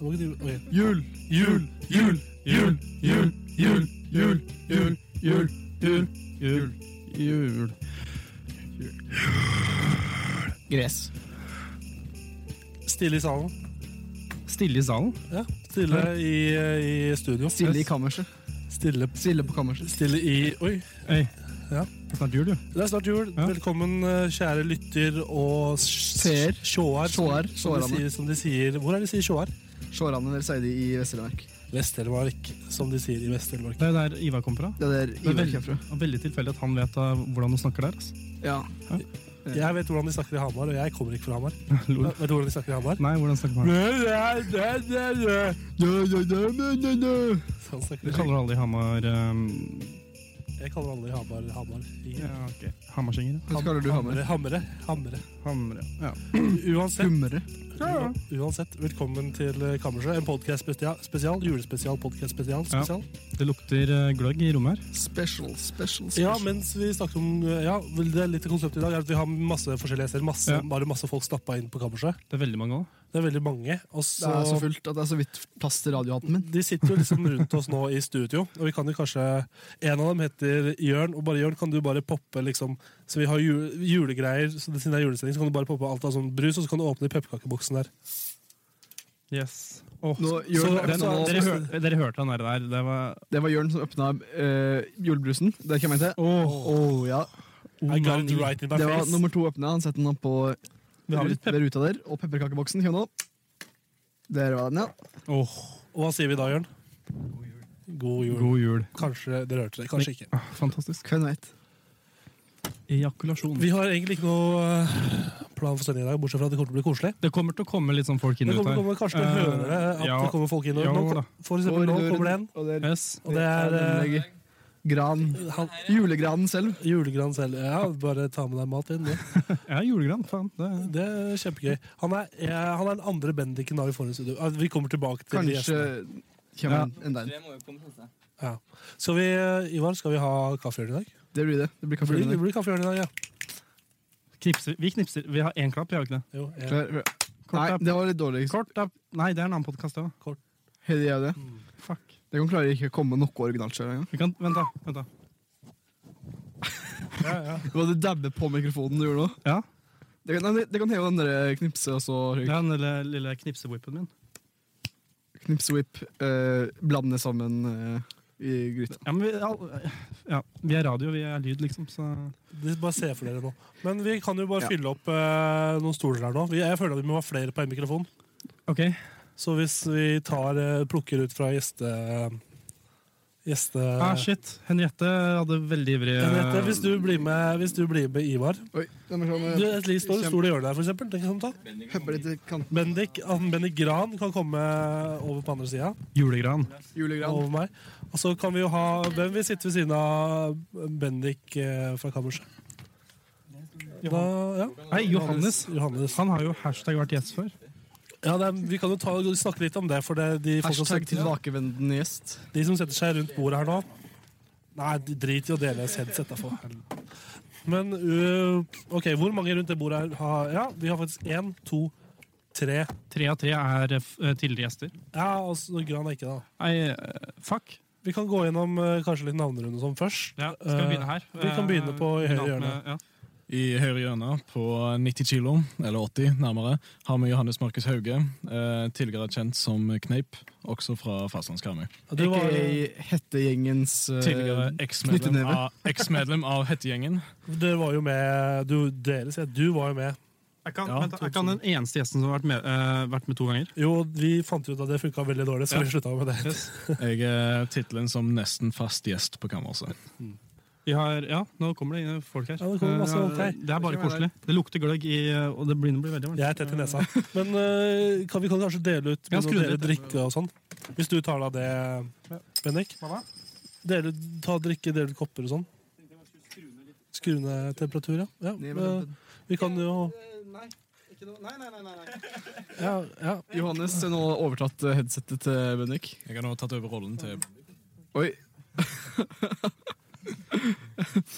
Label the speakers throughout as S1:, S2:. S1: Jul, jul, jul, jul, jul, jul, jul, jul, jul, jul, jul, jul.
S2: Gress.
S3: Stille i salen.
S2: Stille i salen.
S3: Ja, stille i, eh, i studio.
S2: Stille i kammerset.
S3: Stille,
S2: Stille på kammerset.
S3: stille i Oi,
S1: Hei.
S3: Ja.
S1: Det er snart jul, jo.
S3: det er snart jul.
S1: Ja.
S3: Velkommen, eh, kjære lytter og
S2: Seer.
S3: sj- sjåar. Som,
S2: Sjåar,
S3: de
S2: sjåarane.
S3: sier- som de sier Hvor er det de sier sjåar?
S2: Sjårane eller Seidi i Vest-Telemark.
S3: Vest-Telemark, som de sier i Vest-Telemark.
S1: Det er jo der Ivar kom fra.
S2: Det er der
S1: Det er
S2: Ivar
S1: veldig,
S2: kommer fra.
S1: veldig tilfeldig at han vet uh, hvordan du snakker der. ass.
S2: Ja.
S3: Jeg vet hvordan de snakker i Hamar, og jeg kommer ikke fra Hamar.
S1: Lol.
S3: Vet du hvordan de snakker i Hamar?
S1: Nei, hvordan snakker man?
S3: Sånn snakker
S1: Du
S3: de.
S1: kaller alle i Hamar um,
S3: Jeg kaller alle i Hamar Hamar. I-
S1: ja, ok. Hamarsinger.
S2: Hva kaller du Hammer?
S3: Hamre, Hamre. Hamre.
S1: Hamre. Ja.
S3: Uansett,
S2: Humre.
S1: Ja.
S3: uansett, velkommen til eh, Kammerset. En podcast spesial, spesial julespesial, podcast spesial,
S1: Ja.
S3: spesial.
S1: Det lukter uh, gløgg i rommet her.
S2: Special, special,
S3: Ja,
S2: special.
S3: mens vi snakker om eh, Ja, vel, det er litt av konseptet i dag er at vi har masse forskjellige gjester. Masse,
S1: Ja.
S3: Bare masse folk stappa inn på kammerset.
S1: Det er veldig mange òg.
S3: Det er veldig mange. Og
S2: Det er så
S3: så
S2: fullt at det er så vidt plass til radiohatten min.
S3: De sitter jo liksom rundt oss nå i studio, og vi kan jo kanskje En av dem heter Jørn, og bare Jørn, kan du bare poppe liksom Så vi har ju- julegreier, så det, siden det er julesending, så kan du bare poppe alt av sånn brus, og så kan du åpne pepperkakeboksen der.
S1: Yes. altså, Åh,
S2: Nå,
S3: Så-
S2: Jørn,
S1: den,
S3: så-
S2: åpna-
S1: dere, hør, dere hørte han der, der. Det var
S2: det var Jørn som åpna eh, julebrusen. Der kommer jeg til.
S1: Åh,
S2: Oh, ja.
S3: I got it
S1: onani.
S3: right in my
S2: Det var
S3: face.
S2: nummer to åpna. Han setter den opp på
S1: Vi har litt
S2: rut- ved ruta der. Og pepperkakeboksen kommer nå. Der var den, ja.
S1: Åh,
S3: Og hva sier vi da, Jørn? God jul.
S1: god jul.
S3: Kanskje dere hørte det, kanskje ikke.
S1: Ah, Fantastisk.
S2: Hvem veit.
S1: Ejakulasjon.
S3: Vi har egentlig ikke noe eh, plan for sending i dag, bortsett fra at det kommer til å bli koselig.
S1: Det kommer til å komme litt sånn folk inn
S3: Det
S1: og ut
S3: kommer,
S1: her.
S3: kommer kanskje til å
S1: Eh,
S3: høre det, at
S1: ja.
S3: det kommer folk inn.
S1: Ja,
S3: og nå,
S1: da.
S3: for eksempel nå kommer det en,
S2: Og der
S1: Yes.
S3: og det er eh,
S2: anlegget. Gran.
S3: han,
S2: Julegranen selv.
S3: julegran selv. Ja, bare ta med deg mat inn. du.
S1: Jeg er julegran, faen. Det er
S3: Det er kjempegøy. Han er, eh, han er den andre Bendiken da vi får i studio. Ah, Vi kommer tilbake til de
S2: Kanskje
S3: gjestene.
S2: kommer
S1: Ja.
S2: en- en der.
S3: Ja. Skal vi, eh, Ivar, skal vi ha kaffehjørne i dag?
S2: Det blir det. Det blir
S3: Det blir, det
S2: kaffehjørne.
S3: blir kaffehjørne i dag, ja.
S1: knipser. Vi knipser. Vi har én klapp, vi har ikke det?
S3: Jo, ja.
S2: Klar, klar.
S1: Kort
S2: Nei,
S1: app.
S2: det var litt dårlig.
S1: Kort app. Nei, det er en annen podkast, det òg.
S2: Hele greia, det.
S1: Fuck.
S2: Det kan klare ikke å komme noe originalt selv engang.
S1: Vi kan Vent, da. Vent da.
S3: Ja, ja.
S2: Det var det dabbe på mikrofonen du gjorde nå.
S1: Ja.
S2: Det kan, nei, det kan heve den der eh, knipse og så
S1: Det er den lille, lille knipsewhippen min.
S2: knipse-whip. Eh, blande sammen eh, i gryta.
S1: Ja, men vi, al- ja, vi er radio, vi er lyd, liksom, så
S3: Det bare se for dere nå. Men vi kan jo bare
S2: Ja.
S3: fylle opp eh, noen stoler her nå. Vi- Jeg føler at vi må ha flere på en mikrofon.
S1: OK.
S3: Eh. Så hvis vi tar, eh, plukker ut fra gjeste... Gjeste...
S1: Ah, shit. Henriette hadde veldig ivrig
S3: Henriette, hvis du blir med, hvis du blir med Ivar
S2: Oi, la meg se om
S3: Du,
S2: jeg
S3: et litt stor, stol i hjørnet der, for eksempel. Den kan du ta.
S2: hopper eh, litt i kanten.
S3: Bendik, han Bendik Gran kan komme over på andre sida.
S1: Julegran.
S2: Julegran.
S3: Over meg. Og så kan vi jo ha Hvem vil sitte ved siden av Bendik eh, fra kammerset? Da, ja.
S1: Nei, Johannes.
S3: Johannes.
S1: Han har jo hashtag vært gjest før.
S3: Ja, det er, vi kan jo ta, snakke litt om det, for det, de, folka som,
S2: Hashtag tilbakevendende gjest.
S3: de som setter seg rundt bordet her nå Nei, de drit i å dele headset, da, for helvete. Men uh, OK, hvor mange rundt det bordet her har Ja, vi har faktisk én, to, tre
S1: Tre av tre er eh, f- eh, tidligere gjester.
S3: Ja, og så Gran er ikke det, da.
S1: Nei, eh, fuck.
S3: Vi kan gå gjennom eh, kanskje litt navnerunde og sånn først.
S1: Ja, skal vi begynne her?
S3: Eh, vi kan begynne på i
S1: Eh,
S3: høyre
S1: navnet-
S3: hjørne.
S1: Ja.
S4: I høyre hjørne på 90 kilo, eller 80 nærmere, har vi Johannes Markus Hauge, eh, tidligere kjent som Kneip, også fra Fastlandskarmøy.
S3: Du
S2: Ikke
S3: var,
S2: i hettegjengens eh,
S4: Tidligere eksmedlem
S2: knyttneve.
S4: av, eksmedlem av Hettegjengen.
S3: dere var jo med du, Dere sier at du var jo med.
S1: Jeg kan,
S4: Ja,
S1: vent, da, jeg kan den eneste gjesten som har vært med, eh, vært med to ganger.
S3: Jo, vi fant ut at det funka veldig dårlig, så
S1: Ja.
S3: vi slutta med det.
S4: eh, Jeg er tittelen som nesten fast gjest på kammerset.
S5: Vi har, ja, nå kommer det inn folk her.
S3: Ja, det kommer masse
S5: Eh,
S3: folk her.
S5: det er bare koselig. Det lukter gløgg, i, eh, og det begynner å bli veldig varmt.
S3: Jeg er tett i nesa. Men øh, kan vi kan kanskje dele ut
S5: Ja,
S3: med
S5: skru
S3: noe dere
S5: litt.
S3: drikke og sånn? Hvis du tar deg av det, Bendik. Dele, ut- ta drikke, dele ut kopper og sånn. Skru ned temperatur, ja. ja.
S6: Ned med
S3: men, Vi kan jo
S6: Eh, Nei, ikke noe. Nei, nei, nei, nei.
S3: ja, ja.
S2: Johannes har nå overtatt eh, headsetet til Bendik.
S4: Jeg har nå tatt over rollen til
S2: Oi.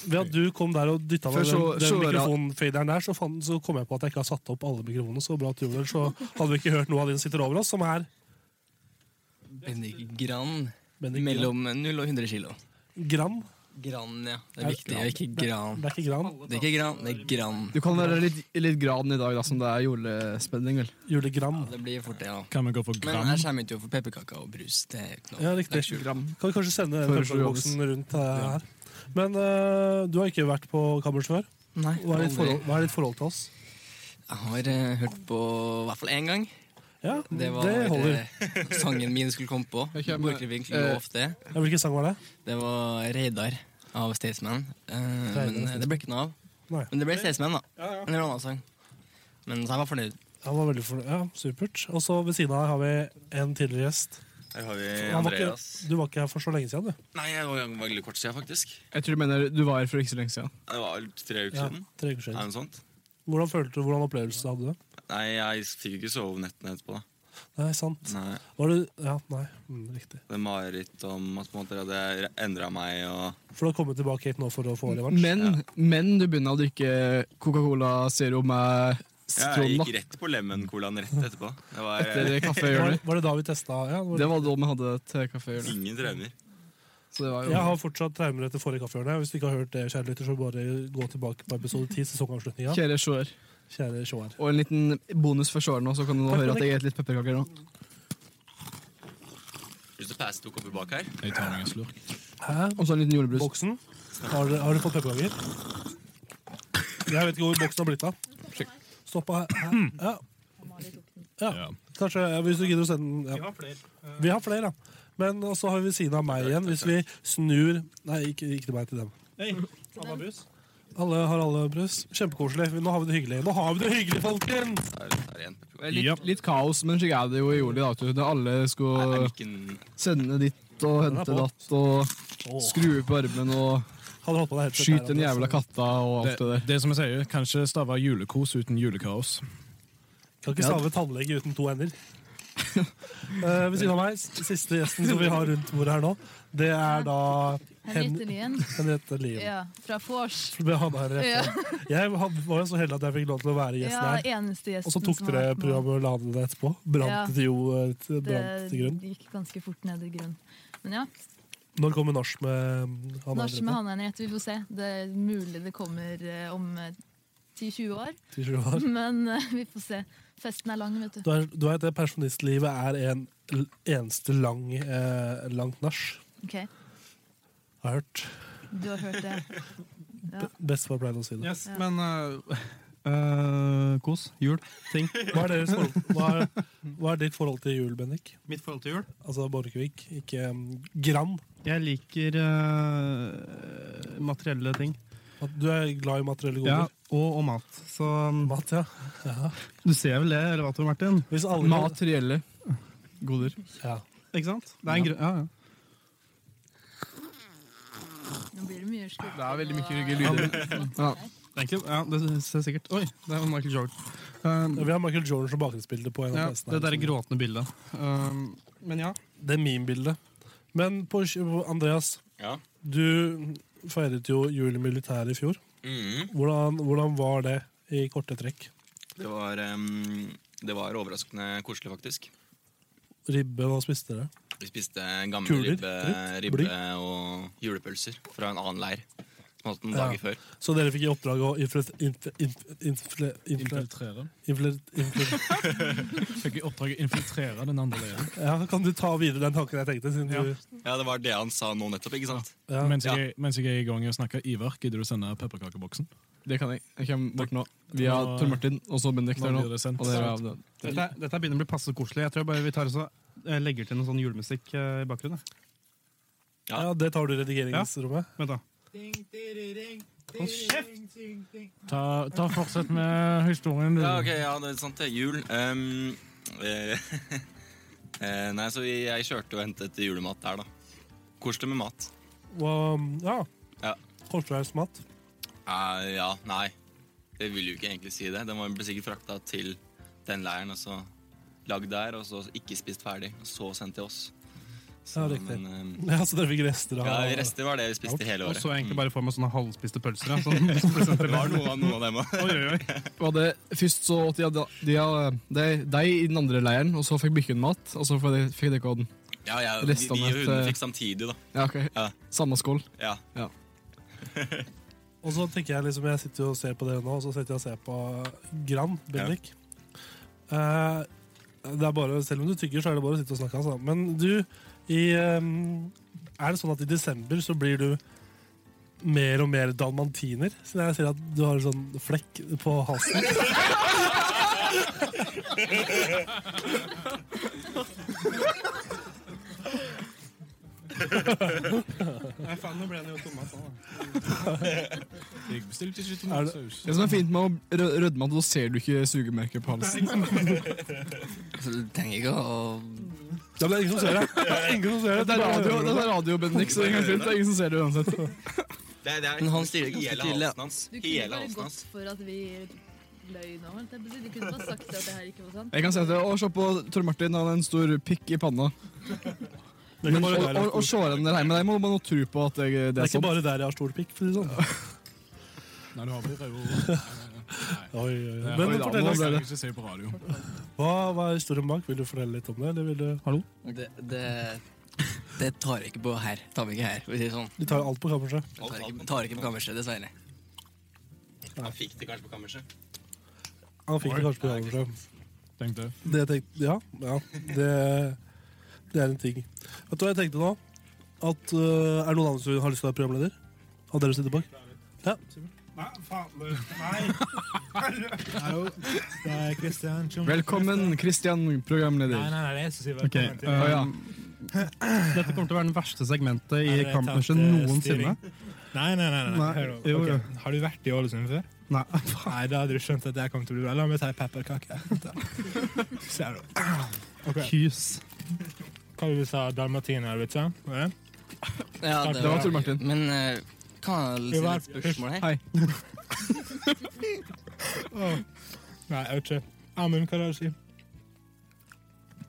S3: Ved at du kom der og dytta meg
S2: Først så-
S3: den, den
S2: så var det-
S3: mikrofonfaderen der, så, fant, så kom jeg på at jeg ikke har satt opp alle mikrofonene. Så bra at du gjorde det, så hadde vi ikke hørt noe av de som sitter over oss, som er
S7: Bendik Gran.
S3: Bendik
S7: Mellom 0 og 100 kilo.
S3: Gran.
S7: Gran, ja. Det
S3: Er
S7: er
S3: det
S7: viktig, det er ikke gran.
S3: Det er ikke Gran.
S7: Det er ikke gran, det er gran.
S2: Du kan være litt, litt graden i dag, da, som det er julespenning, vel.
S3: Julegran.
S7: Ja, det blir fort det, ja.
S4: Kan vi gå for
S7: Men her
S4: gram?
S7: kommer ikke jo for pepperkaka og brus. Det er ikke noe.
S3: Ja, riktig.
S2: Gram.
S3: Kan vi kanskje sende den
S2: Foreslår
S3: pepperboksen rundt eh, her? Men eh, du har ikke vært på kammers før.
S7: Nei,
S3: Hva er, ditt
S7: aldri.
S3: forhold, hva er ditt forhold til oss?
S7: Jeg har eh, hørt på i hvert fall én gang.
S3: Ja,
S7: Det
S3: det,
S7: var
S3: holder.
S7: eh, sangen min skulle komme på.
S2: Jeg kommer-
S7: Borchgrevink lå
S2: eh,
S7: ofte.
S3: Ja, Hvilken sang var det?
S7: Det var Reidar av Staysman. Eh, men eh, det ble ikke noe av.
S3: Nei.
S7: Men det ble Staysman, da. En eller annen sang. Men så jeg var fornøyd.
S3: Han var veldig fornøyd. Ja, supert. Og så ved siden av her har vi en tidligere gjest.
S8: Her har vi
S3: Han var ikke,
S8: Andreas.
S3: du var ikke her for så lenge siden, du.
S8: Nei, det var veldig kort siden, faktisk.
S2: Jeg tror du mener du var her for ikke så lenge siden.
S8: Det var tre uker
S3: Ja,
S8: siden.
S3: tre uker
S8: Er det
S3: siden.
S8: noe sånt?
S3: Hvordan følte du, hvordan opplevelse hadde du?
S8: Nei, jeg fikk ikke sove nettene etterpå. da.
S3: Nei, sant.
S8: Nei,
S3: Var det, ja, nei, mm, riktig.
S8: Det er mareritt om at på en måte, det hadde endra meg og
S3: For du har kommet tilbake hit nå for å få revansj?
S2: Men, men du begynner å drikke Coca-Cola Zero med
S8: Jeg
S2: sitron da,
S8: gikk rett på lemon-colaen rett etterpå. Det var eh,
S2: etter
S3: Var,
S2: kaffehjørnet.
S3: var det da vi testa? Ja, det var,
S2: Det var da vi hadde til kaffehjørnet.
S8: ingen traumer.
S2: Så det var
S3: Jeg
S2: jo
S3: har fortsatt traumer etter forrige kaffehjørne. Hvis du ikke har hørt det, kjære lytter, så bare gå tilbake på episode 10, sesongavslutninga.
S2: Kjære seer.
S3: Kjære seer.
S2: Og en liten bonus for seeren også, så kan du nå
S3: Takk,
S2: høre at
S3: Henrik.
S2: jeg spiser litt pepperkaker nå.
S8: Hvis du passer to kopper bak her
S4: Jeg tar meg en slurk.
S3: Hæ?
S2: Og så en liten julebrus.
S3: Boksen? Har du, har du fått pepperkaker? Jeg vet ikke hvor boksen har blitt av. Stoppa her. her. Ja. Ja.
S4: Ja.
S3: Kanskje, ja, hvis du gidder å sende den.
S5: Vi
S3: Ja.
S5: har flere.
S3: Vi har flere, ja. Men og så har vi ved siden av meg igjen, hvis vi snur Nei, ikke, ikke til meg, til dem.
S5: Hei, Anna Brus.
S3: Alle har alle brus. Kjempekoselig. Nå har vi det hyggelig. Nå har vi det hyggelig, folkens!
S8: Der, der igjen.
S2: Det er Litt, litt kaos, men slik er det jo i juli. da, vet du. Da alle
S8: Er
S2: skulle
S8: mikken
S2: sende ditt og
S3: Den er
S2: hente
S3: på.
S2: datt og
S3: Åh,
S2: skru på armen og
S3: hadde holdt på det helt til
S2: skyte
S3: der,
S2: den
S3: altså.
S2: jævla katta og
S4: Det,
S2: alt det der.
S4: det som jeg sier, kanskje stave julekos uten julekaos.
S3: Kan ikke stave tannlege uten to ender. Eh, ved siden av meg, s- siste gjesten som vi har rundt bordet her nå, det er da
S9: Henriette Lien.
S3: Henriette Lien.
S9: Ja, fra Fors.
S3: Vi hadde her rett.
S9: Ja,
S3: Jeg had- var jo så heldig at jeg fikk lov til å være
S9: ja,
S3: gjesten her.
S9: eneste gjesten
S3: Og så tok
S9: som har
S3: dere
S9: vært med.
S3: programmet og ladet det etterpå.
S9: Ja.
S3: Brant det jo eh, til- brant til grunn.
S9: Det gikk ganske fort ned i grunn. Men ja,
S3: Når kommer nach med eh, Hanna
S9: norsk med
S3: Henriette?
S9: Hanne Henriette, vi får se. Det er mulig det kommer eh, om eh, 10-20 år,
S3: Til sju år.
S9: men eh, vi får se. Festen er lang, vet du.
S3: Du er- Du vet det pensjonistlivet er en l- eneste lang, eh, langt nach,
S9: Ok,
S3: har jeg hørt.
S9: Du har hørt det. Ja.
S3: Bestefar pleide å si det.
S5: Yes, men eh, eh, kos. Jul. Ting.
S3: Hva er, deres forhold, hva, er, hva er ditt forhold til jul, Bendik?
S5: Mitt forhold til jul?
S3: Altså Borchgrevink, ikke um, Gran.
S5: Jeg liker eh, materielle ting.
S3: At Du er glad i materielle
S5: Ja,
S3: goder.
S5: og, og mat. Så um,
S3: Mat, ja.
S5: du ser vel det, eller hva, Tor Martin?
S3: Hvis alle
S2: Materielle goder.
S3: Ja.
S5: Ikke sant? Det er en grunn. Ja, ja.
S9: Nå blir det mye skurking.
S2: Det er veldig mye
S9: og-
S2: rygge lyder. Ja.
S5: Det er Egentlig, ja, det ser jeg sikkert. Oi, det er Michael Jordan. Um,
S3: Vi har Michael Jordan som bakgrunnsbilde på en av
S5: ja,
S3: PC-ene
S5: det
S3: her,
S5: der liksom.
S3: så-
S5: gråtende bildet. Um, men ja.
S3: Det er meme-bildet. Men på, Andreas,
S8: Ja.
S3: du feiret jo jul i militæret i fjor.
S8: Mhm.
S3: Hvordan, hvordan var det i korte trekk?
S8: Det var em, Det var overraskende koselig, faktisk.
S3: Ribbe, hva spiste dere?
S8: Vi spiste gammel
S3: Kuler,
S8: ribbe,
S3: krutt, bly.
S8: ribbe og julepølser fra en annen leir. Som hadde noen
S3: Ja.
S8: dager før.
S3: Så dere fikk i oppdrag å infle... infle, infle, infle, infle,
S4: Infiltrere.
S3: infle, infle.
S4: Fikk i oppdrag å infiltrere den andre leiren.
S3: Ja, Kan du ta videre den tanken jeg tenkte? Siden du,
S8: Ja, det var det han sa nå nettopp, ikke sant?
S3: ja.
S4: Mens jeg, mens jeg er i gang i å snakke Ivar, gidder du sende pepperkakeboksen?
S2: Det kan jeg. Jeg kommer bort nå. Vi har Tor Martin og så Bendik
S4: Nå
S2: der nå.
S4: blir det sendt.
S2: Og dere er av det.
S5: Dette, er- dette begynner å bli passe koselig. Jeg tror jeg bare vi tar også, eh, legger til noe sånn julemusikk eh, i bakgrunnen. jeg.
S3: ja, det tar du i redigeringsrommet.
S5: Vent da.
S4: Hold kjeft! Ta, ta Fortsett med historien, du.
S8: Ja, ok, ja, det er sant det. Jul. Ehm, eh, eh, nei, så jeg kjørte og hentet julemat der, da. Kos deg med mat.
S3: Og, um, ja.
S8: Ja.
S3: Korsveismat.
S8: Eh, ja, nei. Det vil jo ikke egentlig si det. Den var ble sikkert frakta til den leiren, og så lagd der, og så ikke spist ferdig. Og så sendt til oss.
S3: Ja, riktig.
S8: Men, ehm,
S3: Ja, så dere fikk rester av
S8: ja, rester var det vi spiste hele
S5: Og
S8: året. Mm.
S5: så egentlig bare for meg sånne halvspiste pølser. Ja. Sånn, som ble sendt
S8: Det
S5: til
S8: var noe av noe av dem også.
S5: Oi, oi, oi.
S2: Var det først så åt de, de, eh, de, de i den andre leiren, og så fikk bykken mat, og så fikk de- fikk de ikke den.
S8: Ja, ja, vi,
S2: Restene
S8: vi og
S2: etter-
S8: hundene fikk samtidig, da.
S2: Ja, ok.
S8: Ja.
S2: Samme skål.
S8: Ja.
S3: Og så tenker jeg liksom, jeg sitter jo og ser på dere nå, og så sitter jeg og ser på Gran Bendik. Eh, det er bare, selv om du tygger, så er det bare å sitte og snakke. Altså. Men du, i, eh, er det sånn at i desember så blir du mer og mer dalmantiner? Siden jeg ser at du har en sånn flekk på halsen.
S5: Nei, faen, nå ble den jo altså. Thomas òg,
S4: Jeg bestilte ikke
S3: Er det-
S4: saus.
S2: Det som er fint med å rø- rødme, at da ser du ikke sugemerket på halsen.
S7: Så du trenger ikke å
S3: Ja, men det er ingen som ser det. Det er ingen som ser det.
S2: Det er radio, det er radio Bendik, så det er helt fint. Det er ingen som ser det uansett.
S8: Det, det er
S7: Men han styrer ganske
S8: hele
S7: tydelig, ja.
S8: halsen hans.
S9: Du kunne
S8: Hele
S9: bare
S8: halsen hans.
S9: gått for at vi løy nå. holdt jeg på å si. Du kunne bare sagt at det her ikke var sant.
S2: Jeg kan si at Å, se på Tor Martin, han har en stor pikk i panna.
S3: Det er
S2: Men,
S3: ikke
S2: og
S3: bare der jeg
S2: og, og
S3: har stor-
S2: seerne der hjemme, de må man jo tro på at jeg,
S3: det
S2: det
S3: er
S2: er
S3: ikke
S2: sant.
S3: bare der jeg har stor pikk, for å si det sånn.
S4: Nei, du har vel røde
S3: Oi, oi, oi.
S4: Men
S3: Men fortell
S4: det
S3: oss,
S4: skal jeg ikke si på radio.
S3: hva, hva er historien bak? Vil du fortelle litt om det? Eller vil du...
S7: Det, det, det tar vi ikke på her. Tar vi ikke her, for å si det sånn.
S3: Vi tar jo alt på kammerset.
S7: Det tar ikke, tar ikke på kammerset, dessverre.
S8: Han fikk det kanskje på kammerset.
S3: Han fikk det kanskje på kammerset.
S4: Tenk det.
S3: Det jeg tenkte, ja, ja det, det er en ting. Vet du hva jeg tenkte nå? At, øh, er det noen andre som har lyst til å være programleder? Av dere som sitter bak? Ja.
S5: Nei, faen. Nei.
S10: Det er Kristian som
S2: Velkommen, Kristian,
S10: Nei,
S2: programleder.
S10: nei, nei, det er jeg som sier
S5: Ok, øh, um,
S10: velkommen til
S2: Å, ja.
S5: Dette kommer til å være den verste segmentet i
S10: Har dere
S5: Kampmusjen
S10: tatt, eh,
S5: noensinne.
S10: styring? Nei, nei, nei. nei,
S5: Nei,
S10: Hør nå.
S5: jo, jo.
S10: Ok, Har du vært i Ålesund før?
S5: Nei.
S10: Nei, da hadde du skjønt at jeg kom til å bli bra. La meg ta en pepperkake. Ser du. Ok,
S5: Kys.
S10: Hva var det du sa du? Dalmatiner, vet du? Var det?
S7: Ja,
S10: Det var
S2: Tor Martin.
S7: Men eh, kan jeg
S10: Jo,
S7: stille et spørsmål her?
S2: Hei.
S10: Nei, jeg vet ikke. Amund, hva er det han sier?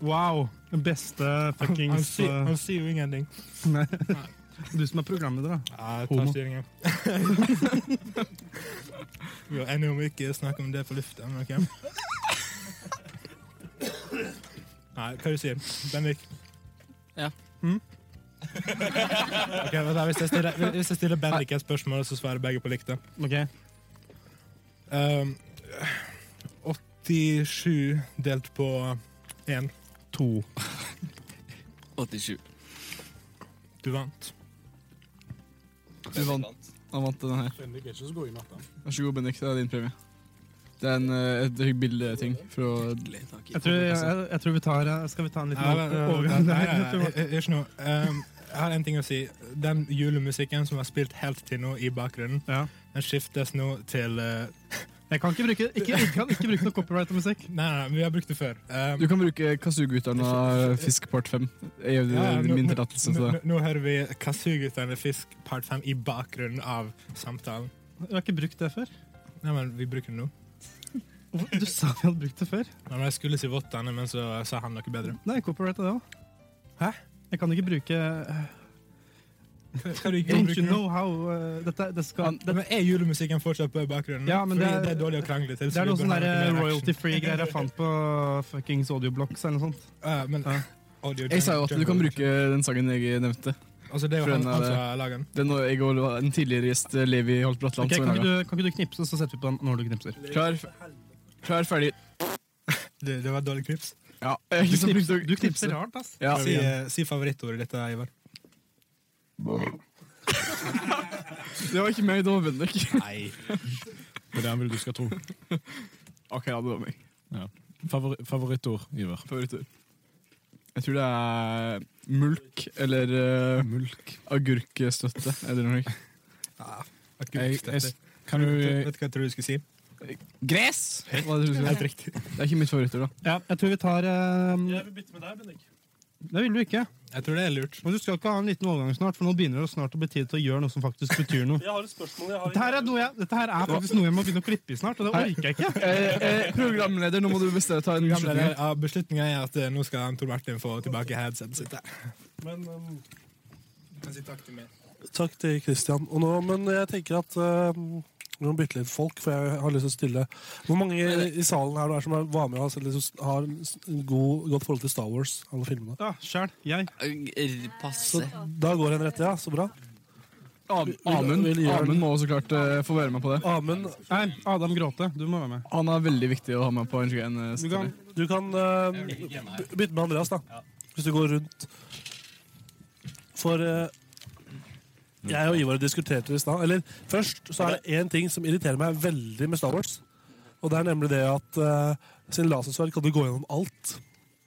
S5: Wow. Den beste
S10: Han
S5: fuckings
S10: sier- Han sier jo ingenting.
S5: Nei. Du som er programleder, da.
S10: Ja,
S5: Homo.
S10: ta styringen. Vi har ennå ikke snakket om det på lufta, men ok. Nei, hva du sier Bendik?
S7: Ja.
S10: Mm? Ok, vent da, hvis, jeg stiller, hvis jeg stiller Bendik et spørsmål, så svarer begge på likt. da.
S5: Ok.
S10: Um, 87 delt på 1.
S5: To.
S7: 87.
S10: Du vant.
S2: Du vant, han vant denne her.
S4: Bendik er ikke så god i matte.
S2: Vær så god, Bendik, det er din premie. Det er en, eh, et hygg bildeting fra
S7: Hyggelig, takk.
S5: Jeg tror, jeg, jeg tror vi tar eh, Skal vi ta en liten eh,
S10: Nei, vent, vent,
S5: overgang
S10: vent, nei, nei,
S5: der?
S10: nei, jeg- jeg- Ikke noe. Um, jeg har en ting å si. Den julemusikken som har spilt helt til nå i bakgrunnen,
S5: Ja.
S10: den skiftes nå til eh,
S5: Jeg kan ikke bruke, ikke, jeg kan ikke bruke noe copyrighta musikk.
S10: Nei, nei, nei, vi har brukt det før. Um,
S2: Du kan bruke Kazoo-gutterne av Fisk part 5. Jeg gir
S10: ja, ja, nå-
S2: min
S10: nå-
S2: tillatelse til
S10: nå,
S2: det.
S10: nå- nå hører vi Kazoo-guttene Fisk part 5 i bakgrunnen av samtalen.
S5: Jeg har ikke brukt det før.
S10: Nei, men vi bruker det nå.
S5: Hvorfor- Du sa vi hadde brukt det før.
S10: Nei, men jeg skulle si vottene, men så sa han noe bedre.
S5: Nei, copyrighta det òg.
S10: Hæ?
S5: Jeg kan ikke bruke eh,
S10: Hva, hva er det
S5: Don't you
S10: nå?
S5: know how eh, Dette det skal det,
S10: Men er julemusikken fortsatt på i bakgrunnen?
S5: Ja, men
S10: Fordi
S5: det er-
S10: det er dårlig å krangle til. så
S5: det er
S10: vi
S5: noe
S10: bør
S5: sånn
S10: ha
S1: eh,
S5: der
S10: mer action.
S5: royalty free-greier jeg fant på fuckings Audioblocks eller noe sånt.
S10: Ja, men,
S5: Ja.
S10: Audio
S2: Jeg sa jo at du
S10: jungle-
S2: kan bruke den sangen jeg nevnte.
S10: Altså, det er jo
S2: For
S10: han,
S2: den
S10: han
S2: er-
S5: eh,
S10: som har laget den.
S2: Den og jeg og en tidligere gjest, eh, Levi Holt Bratland.
S5: Ok,
S2: som
S5: kan,
S2: jeg
S5: ikke
S2: laget.
S5: du, kan ikke du knipse, så setter vi på den når du knipser?
S2: Klar, klar ferdig.
S10: Det, det var et dårlig knips.
S2: Ja, jeg
S5: Du
S2: knipser-
S5: knipser, du knipser hardt, ass.
S2: Ja.
S10: Si, eh, si favorittordet ditt, da, Ivar.
S2: Det var ikke meg, det var Bendik.
S10: Nei.
S4: Det er det han vil du skal tro.
S2: Ok, ja, det var meg.
S4: Favori favorittord, Ivar.
S2: Favoritter. Jeg tror det er mulk eller eh,
S4: Mulk.
S2: agurkstøtte. Eller noe.
S4: Jeg- jeg- kan du-
S10: Vet du hva jeg tror du skulle si?
S2: Gress! Hva er det du sier?
S10: Helt riktig.
S2: Det er ikke mitt favorittord, da.
S1: Ja, jeg tror vi tar eh,
S3: Jeg vil bytte med deg, Bendik.
S1: Det vil du ikke.
S10: Jeg tror det er lurt.
S1: Men du skal ikke ha en liten overgang snart, for nå begynner det snart å bli tid til å gjøre noe som faktisk betyr noe.
S3: Jeg har et spørsmål. Jeg har
S1: Dette her er, noe jeg, dette her er faktisk noe jeg må begynne å klippe i snart, og det orker jeg ikke.
S2: Eh, eh, programleder, nå må du bestemme ta en
S4: Mhm.
S2: beslutning.
S10: Ja, beslutningen er at eh, nå skal han, Tor Martin få tilbake headsetet sitt.
S3: Men, um,
S10: kan si takk til meg.
S3: Takk til Christian. Og nå, men jeg tenker at eh, vi må bytte litt folk, for jeg har lyst til å stille Hvor mange i, i salen her du er som er- var med og har, sett litt- har en s- en god, godt forhold til Star Wars? Alle filmene?
S1: Ja, sjæl. Jeg.
S7: Passe.
S3: Da går en rett, ja. Så bra.
S2: Amund
S3: Vil- vil gjøre Ah.
S2: Amund
S3: den.
S2: må så klart eh, få være med på det.
S1: Nei, Adam Gråte, du må være med.
S2: Han er veldig viktig å ha med på en 21 eh,
S3: Du
S2: story.
S3: kan, du kan eh, by- bytte med Andreas, da. Hvis du går rundt. For eh, jeg og Ivar diskuterte det i stad. Eller først så er det én ting som irriterer meg veldig med Star Wars. Og det er nemlig det at eh, sin lasersverd kan du gå gjennom alt.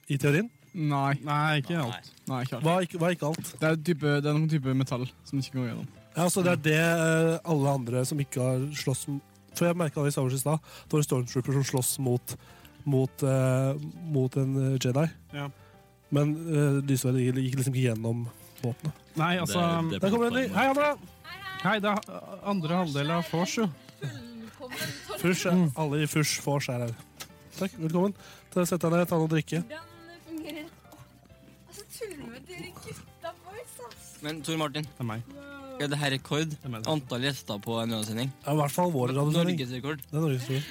S3: I teorien.
S2: Nei.
S1: Nei, ikke alt.
S2: Nei, ikke alt.
S3: Hva er ikke, hva er ikke alt?
S2: Det er, type, det er noen type metall som ikke går gjennom.
S3: Ja, så Det er det eh, alle andre som ikke har slåss m- For jeg merka det i Star Wars i stad. Det var en stormtrooper som slåss mot, mot, eh, mot en eh, Jedi.
S1: Ja.
S3: Men uh, lysverdet gikk gikk liksom ikke gjennom våpenet.
S1: Nei, altså
S3: Det er- det er Der kommer en ny. plattformen. Hei, Andra!
S1: Hei, det er eh, andre halvdel av vors, jo.
S3: Fush, er- Alle i fush vors er her. Takk, velkommen. Ta- Sett deg ned, ta noe å drikke.
S11: Hvordan fungerer Altså, tuller med dere gutta boys, ass.
S7: Men Tor Martin,
S1: det er meg.
S7: Er det her rekord? Antall gjester på en radiosending?
S3: Ja, I hvert fall vår radiosending.
S7: Norgesrekord.
S3: Det er Norgesrekord.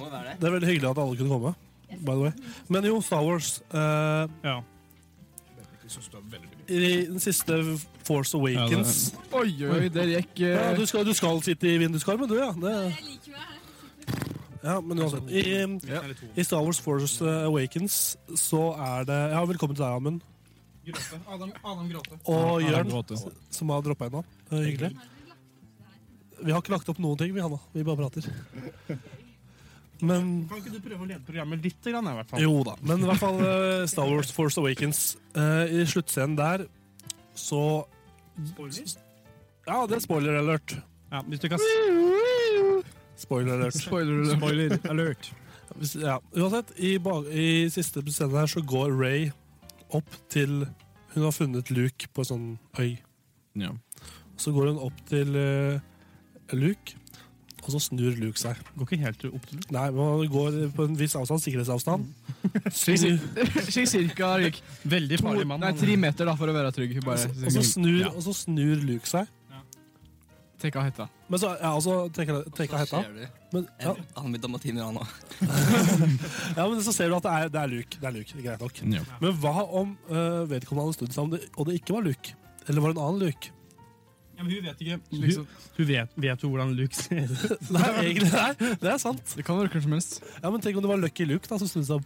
S7: Må det være det.
S3: Det er veldig hyggelig at alle kunne komme. By the way. Men jo, Star Wars eh, I den siste Force Awakens
S2: Oi, oi, der gikk eh,
S3: Ja, du, skal, du skal sitte i vinduskarmen, du, ja. Det... Ja, men uansett. I, I Star Wars Force Awakens så er det Ja, velkommen til deg, Amund.
S1: Adam, Adam Gråte.
S3: Og
S4: Ja,
S3: Jørn,
S4: Gråte.
S3: som har droppa inn nå. Eh, Hyggelig. Vi har ikke lagt opp noen ting, vi, Hanna. Vi bare prater. Men
S1: Kan ikke du prøve å lede programmet litt, grann, i hvert fall?
S3: Jo da, men i hvert fall eh, Star Wars Force Awakens. Eh, I sluttscenen der så Ja, det er spoiler alert.
S1: Ja, hvis du ikke
S3: Spoiler alert.
S2: Spoiler
S1: Spoiler alert.
S3: Hvis- Ja, uansett, i, ba- i siste scenen her så går Ray opp til Hun har funnet Luke på en sånn øy.
S4: Ja.
S3: Så går hun opp til eh, Luke, og så snur Luke seg.
S1: Går ikke helt opp til
S3: Nei, men han går på en viss avstand, sikkerhetsavstand. Snur-
S2: Slik cirka gikk
S1: Veldig
S3: farlig mann, Altså-
S2: Nei,
S3: han.
S2: tre meter, da, for å være trygg.
S3: og
S2: Bare.
S3: så- og så snur, og så snur Luke seg.
S2: Tek av hetta.
S3: Men så, ja, altså, tenker, tenker
S7: Så
S3: hetta.
S7: ser du.
S3: Men, ja.
S7: En- Han vil damme timer, han også.
S3: ja, men så ser du at det er, det er Luke. Det er Luke, Greit nok.
S4: Ja.
S3: Men hva om eh, vedkommende hadde stått sammen, og det ikke var Luke? Eller var det en annen Luke?
S1: Ja, men hun vet ikke
S2: Liksom.
S1: Hun, hun vet, vet jo hvordan Luke ser ut.
S3: Nei, egentlig nei, det er sant.
S2: Det kan være hvem som helst.
S3: Ja, Men tenk om det var Lucky Luke, da, som snudde seg og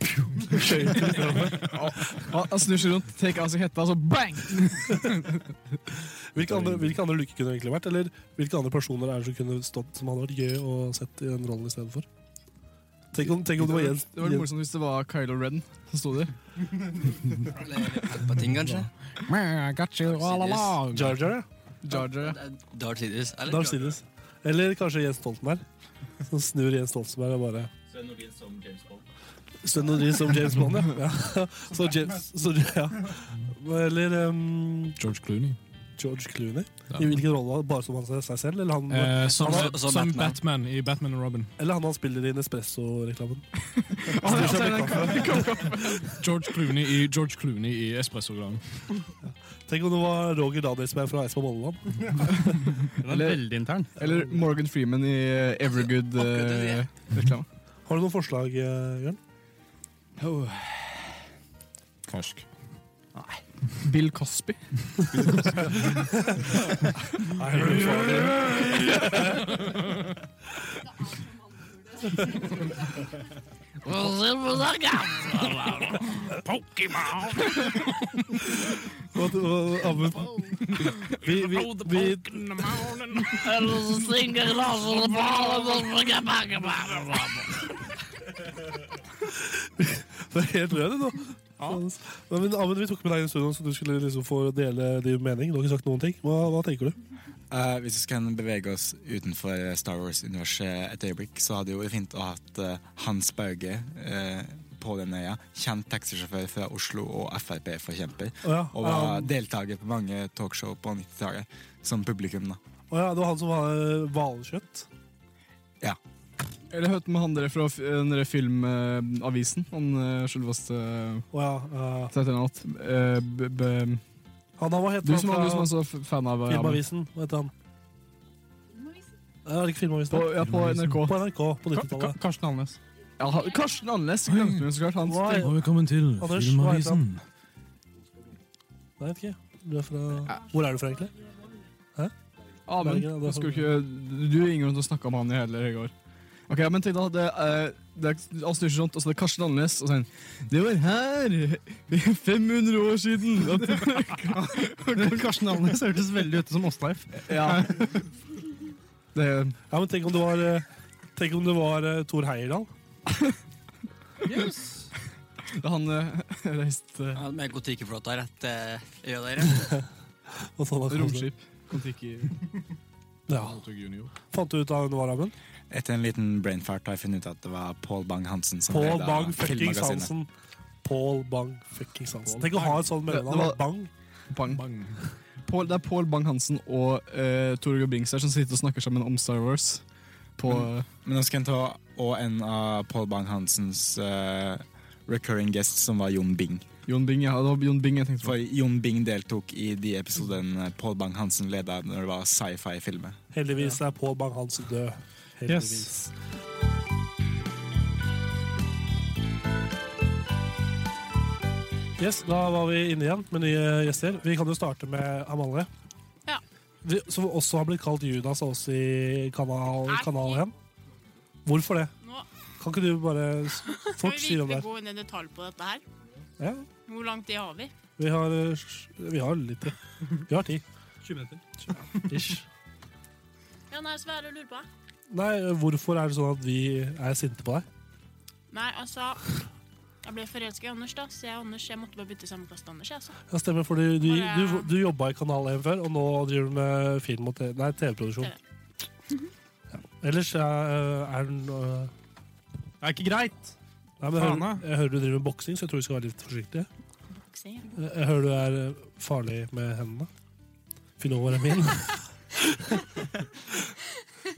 S3: skjøt til istedenfor.
S2: Han han snur seg rundt, tek av seg hetta, så bang!
S3: Hvilke andre, hvilke andre Luke kunne det egentlig vært? Eller hvilke andre personer er det som kunne stått som hadde vært gøy å sett i den rollen istedenfor? Tenk om, tenk om det var Jens.
S2: Det var litt morsomt hvis det var Kylo Ren som sto der.
S7: På ting, kanskje.
S4: I got you all along.
S3: Jar Jar, ja.
S2: Jar Jar, ja.
S7: Darth Sidious. eller?
S3: Darth Sidious. Eller kanskje Jens Stoltenberg. Som snur Jens Stoltenberg og bare
S8: Sven Nordin som James Bond.
S3: Sven Nordin som James Bond, ja. ja. Så James, så, ja. Eller ehm,
S4: George Clooney.
S3: George Clooney. I hvilken rolle? Bare som han seg selv? Eller han,
S4: Eh, som
S3: han,
S4: som Batman. i Batman og Robin.
S3: eller han, han spiller i Nespresso-reklamen?
S4: George Clooney i George Clooney i Espresso-glanen.
S3: Tenk om det var Roger Danielsberg fra Eidsvoll Bolleland.
S2: Eller,
S1: Veldig intern.
S2: eller Morgan Freeman i eh, Evergood-reklame.
S3: Har du noen forslag, eh, Jørn?
S4: Karsk.
S2: Bill Cosby.
S3: Hva- hva- Amund? Vi, vi, vi, det er helt rød, nå. Men, men Amund, vi tok med deg inn i studio, så du skulle liksom få dele din mening. Du har ikke sagt noen ting. Hva, hva tenker du?
S12: Eh, hvis vi kan bevege oss utenfor eh, Star Wars-universet et øyeblikk, så hadde det jo vært fint å ha hatt eh, Hans Bauge eh, på den øya. Kjent taxisjåfør fra Oslo og Frp-forkjemper.
S3: Å ja,
S12: Og var
S3: um,
S12: deltaker på mange talkshow på 90-tallet som publikum. da.
S3: Å ja, det var han som var eh, hvalkjøtt.
S12: Ja.
S2: Eller hørte med han dere fra f- eh, den der filmavisen? Han eh, selveste
S3: Å ja, eh, han da, hva heter
S2: Eh, Du
S3: han
S2: som
S3: fra
S2: var du som var så f- fan av eh, ja, men-
S3: Filmavisen, hva heter han? Er det ikke Filmavisen?
S2: På- ja, på Filmavisen. NRK.
S3: På NRK, på 90-tallet.
S2: Karsten Annes. Ja, ha- Karsten Annes glemte vi jo så klart. Han
S3: Hva er-
S2: tenkte-
S4: Velkommen til
S3: Anders, hva heter
S4: Filmavisen.
S3: han? Nei, Jeg vet ikke. Du er fra Hvor er du fra, egentlig? Hæ?
S2: Amen.
S3: Bergen, ja, det er
S2: Jeg skulle
S3: fra-
S2: ikke, du er ingen grunn til å snakke om han i heller i går. Ok, men tenk da, det er, det er, altså, det er ikke sånt, altså, det er Karsten Andenes, og så er han, det var her 500 år siden. at-"
S1: Karsten Alnes hørtes veldig ut som Åsleif.
S2: ja.
S3: ja, men tenk om det var eh, Tenk om det var eh, Thor Heyerdahl.
S2: Da han eh, reiste
S7: Ja, med Kon-Tiki-flåta rett eh, øya der.
S3: Og sånn at-
S2: Romskip. Kon-Tiki.
S3: Ja. Fant du ut av hun var rammen?
S12: Etter en liten brainfart har jeg funnet ut at det var Pål Bang-Hansen som
S3: Paul
S12: ledet
S3: Bang fuckings
S12: Filmmagasinet.
S3: Hansen. Paul Bang fuckings Hansen.
S2: Paul
S3: Tenk å ha
S2: Bang.
S3: et sånt
S2: Det- det
S3: mellomnavn.
S2: var-
S3: Bang.
S2: Bang. Paul, det er Pål Bang-Hansen og uh, Tore G. Brings her som sitter og snakker sammen om Star Wars. På, eh,
S12: Men, men nå skal jeg ta og en av Paul Bang-Hansens eh, recurring guests, som var Jon Bing.
S2: Jon Bing, ja, det var Jon Bing jeg tenkte
S12: For Jon Bing deltok i de episodene Paul Bang-Hansen leda når det var sci-fi-filmer.
S3: Heldigvis er Paul Bang-Hansen død. Heldigvis. Yes. Da var vi inne igjen med nye gjester. Vi kan jo starte med Amalie.
S13: Ja.
S3: Vi, som også har blitt kalt Judas av oss i kanal, kanal 1. Hvorfor det?
S13: Nå
S3: Kan ikke du bare s-
S13: skal
S3: fort si
S13: vi
S3: om
S13: virkelig
S3: det? her?
S13: gå inn i detalj på dette her.
S3: Ja,
S13: Hvor lang tid har vi?
S3: vi har, eh, sj- vi har litt tid. Vi har tid.
S10: 20 minutter.
S3: Ish.
S13: Ja, nei, så hva er det du lurer på?
S3: Nei, hvorfor er det sånn at vi er sinte på deg?
S13: Nei, altså Jeg ble forelska i Anders, da, så jeg, og Anders, jeg måtte bare bytte sammenplass til Anders. Jeg, altså.
S3: Ja, stemmer, for du, du,
S13: Bare-
S3: du, du jobba i Kanal 1 før, og nå driver du med film og te- nei, TV-produksjon. Ja. Ellers er, er den øh,
S10: Det er ikke greit!
S3: Nei, men jeg,
S10: Faen, da.
S3: hører, jeg hører du driver med boksing, så jeg tror vi skal være litt forsiktige.
S13: Boksing, ja.
S3: Jeg, jeg hører du er øh, farlig med hendene. Finn over dem min.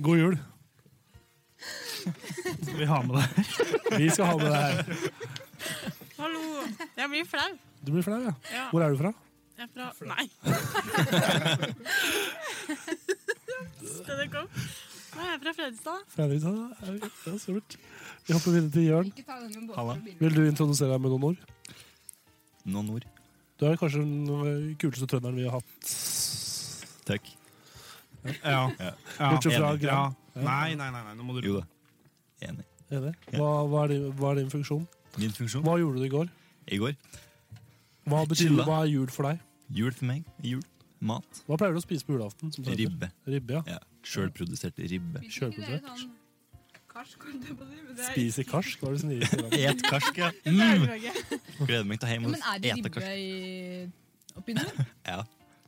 S3: God jul.
S10: Skal vi ha med det her?
S3: Vi skal ha med det her.
S13: Hallo! Jeg blir flau.
S3: Du blir flau, ja.
S13: Ja.
S3: Hvor er du fra?
S13: Jeg er fra Nei. Skal det komme? Nei, jeg er fra Fredrikstad.
S3: Fredrikstad? Er vi- Ja, supert. Vi hopper videre til Jørn.
S11: Halla.
S3: Vil du introdusere deg med noen ord?
S14: Noen ord.
S3: Du er kanskje den øh, kuleste trønderen vi har hatt.
S14: Takk.
S10: Ja.
S14: Ja.
S3: Bortsett fra
S10: Enig.
S3: Gran.
S10: Ja. Nei, nei, nei, nei, nå må du
S14: Jo da. Enig.
S3: Enig. Hva, hva, er din, hva er din funksjon?
S14: Min funksjon?
S3: Hva gjorde du i går?
S14: I går.
S3: Hva betyr
S14: Chilla.
S3: hva er jul for deg?
S14: Jul for meg. Jul. Mat.
S3: Hva pleier du å spise på julaften? Som trønder?
S14: Ribbe.
S3: Ribbe, ja.
S14: Ja. Sjølprodusert ribbe.
S3: Sjølprodusert.
S11: sånn- Karsk, holdt jeg på å si. men det er-
S3: Spiser karsk? Hva er det som gir
S14: Et karsk, ja. Mm.
S11: Det er det ikke.
S14: Gleder meg til å
S11: Ja,
S14: hjem
S11: men
S14: og
S11: er det
S14: ete
S11: ribbe
S14: karsk.
S11: i oppi nord?
S14: Ja.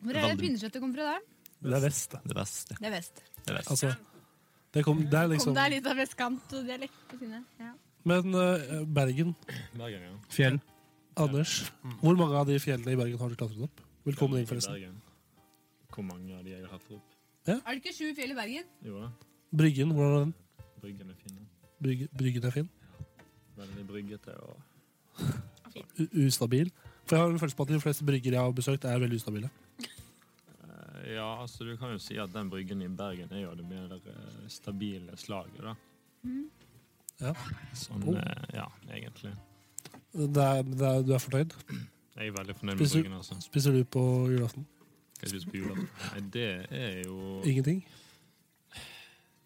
S11: Hvor er det
S14: Veldig.
S11: pinnekjøttet kommer fra der?
S3: Det er vest.
S14: Det er vest.
S11: Det er vest.
S14: Det er vest.
S3: Altså, det, kom, det er
S11: Kom
S3: liksom
S11: deg litt av vestkant og dialekt på sinne. Ja.
S3: Men eh, Bergen,
S10: Fjell.
S3: Anders, hvor mange av de fjellene i Bergen har du klatret opp? Velkommen inn, forresten.
S15: Bergen. Hvor mange av de jeg har hatt opp?
S11: Er det ikke sju fjell i Bergen?
S15: Jo da,
S3: Bryggen, hvordan var den?
S15: Bryggen er fin. da.
S3: Brygge, bryggen er fin.
S15: Veldig bryggete og
S3: U ustabil. For jeg har en følelse på at de fleste brygger jeg har besøkt, er veldig ustabile.
S15: Eh, Ja, altså du kan jo si at den bryggen i Bergen er jo det mer eh, stabile slaget, da.
S10: Mm.
S3: Ja.
S15: Sånn,
S3: Oh.
S15: eh, ja, egentlig.
S3: Det er, det er, du er fornøyd?
S15: Jeg er veldig fornøyd med
S3: Spiser-
S15: bryggen, altså.
S3: Spiser du på julaften?
S15: Hva jeg spiser på julaften? Nei, det er jo
S3: Ingenting?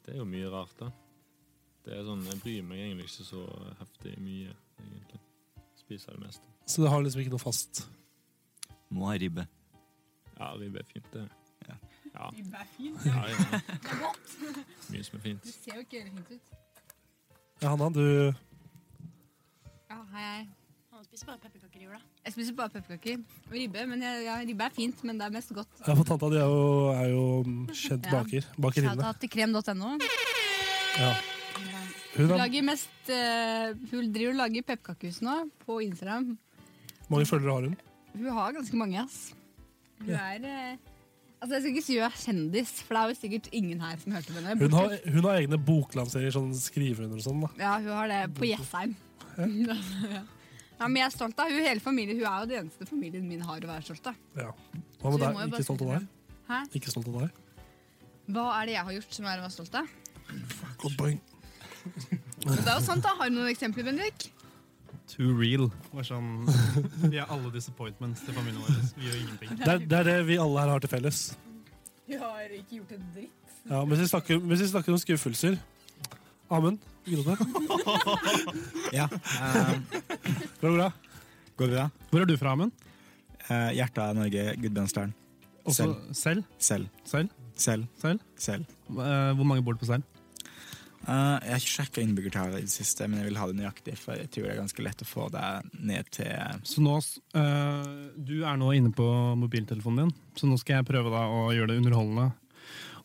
S15: Det er jo mye rart, da. Det er sånn, Jeg bryr meg egentlig ikke så heftig mye, egentlig. Spiser det meste.
S3: Så det har liksom ikke noe fast
S14: Må ha ribbe.
S15: Ja, ribbe er fint, det. Ja.
S11: Ribbe er fint,
S15: ja.
S11: ja.
S15: ja.
S11: Det er godt.
S15: Mye som er fint.
S11: Det ser jo ikke helt fint ut.
S3: Ja, Hanna, du
S11: Ja, hei, hei.
S13: Han spiser bare pepperkaker i jula.
S16: Jeg spiser bare pepperkaker og ribbe. Men jeg, ja, ribbe er fint, men det er mest godt.
S3: Ja, for tanta di er jo, er jo mm, kjent baker. Bakerinne.
S16: Shout-out til krem.no.
S3: Ja. Hun
S16: Hun,
S3: har
S16: lager mest, eh, hun driver og lager pepperkakehus nå, på Instagram.
S3: mange følgere har hun.
S16: Hun har ganske mange, ass. Hun
S3: Ja.
S16: er eh, Altså, Jeg skal ikke si hun er kjendis, for det er jo sikkert ingen her som hørte om henne.
S3: Hun har, hun har egne boklanseringer, sånn skriver hun og sånn. da.
S16: Ja, hun har det på Jessheim. ja, men jeg er stolt av hun hele familien. Hun er jo den eneste familien min har å være stolt av.
S3: Ja. Hva
S16: Så
S3: med
S16: vi må
S3: deg?
S16: jo bare
S3: Ikke stolt av deg?
S16: Hæ?
S3: Ikke stolt av deg?
S16: Hva er det jeg har gjort som jeg er å være stolt av?
S3: Godt poeng.
S16: Og Det er jo sant da, Har du noen eksempler, Bendik?
S1: Too real. Var sånn, vi er alle disappointments til familien vår. Vi gjør ingenting.
S3: Det er, det er det vi alle her har til felles.
S16: Jeg har ikke gjort en dritt.
S3: Ja, men hvis vi snakker, hvis vi snakker om skuffelser Amund, gråte.
S12: Ja.
S3: Går det bra?
S12: Går det bra?
S1: Hvor er du fra, Amund?
S12: Eh, hjertet av Norge, Gudbrandsdalen.
S1: Også selv?
S12: Selv.
S1: Selv?
S12: Selv. Selv.
S1: hvor mange bor det på Seil?
S12: Eh, jeg har ikke sjekka innbyggertallet i det siste, men jeg vil ha det nøyaktig, for jeg tror det er ganske lett å få det ned til
S1: Så nå, s- eh, du er nå inne på mobiltelefonen din, så nå skal jeg prøve da å gjøre det underholdende.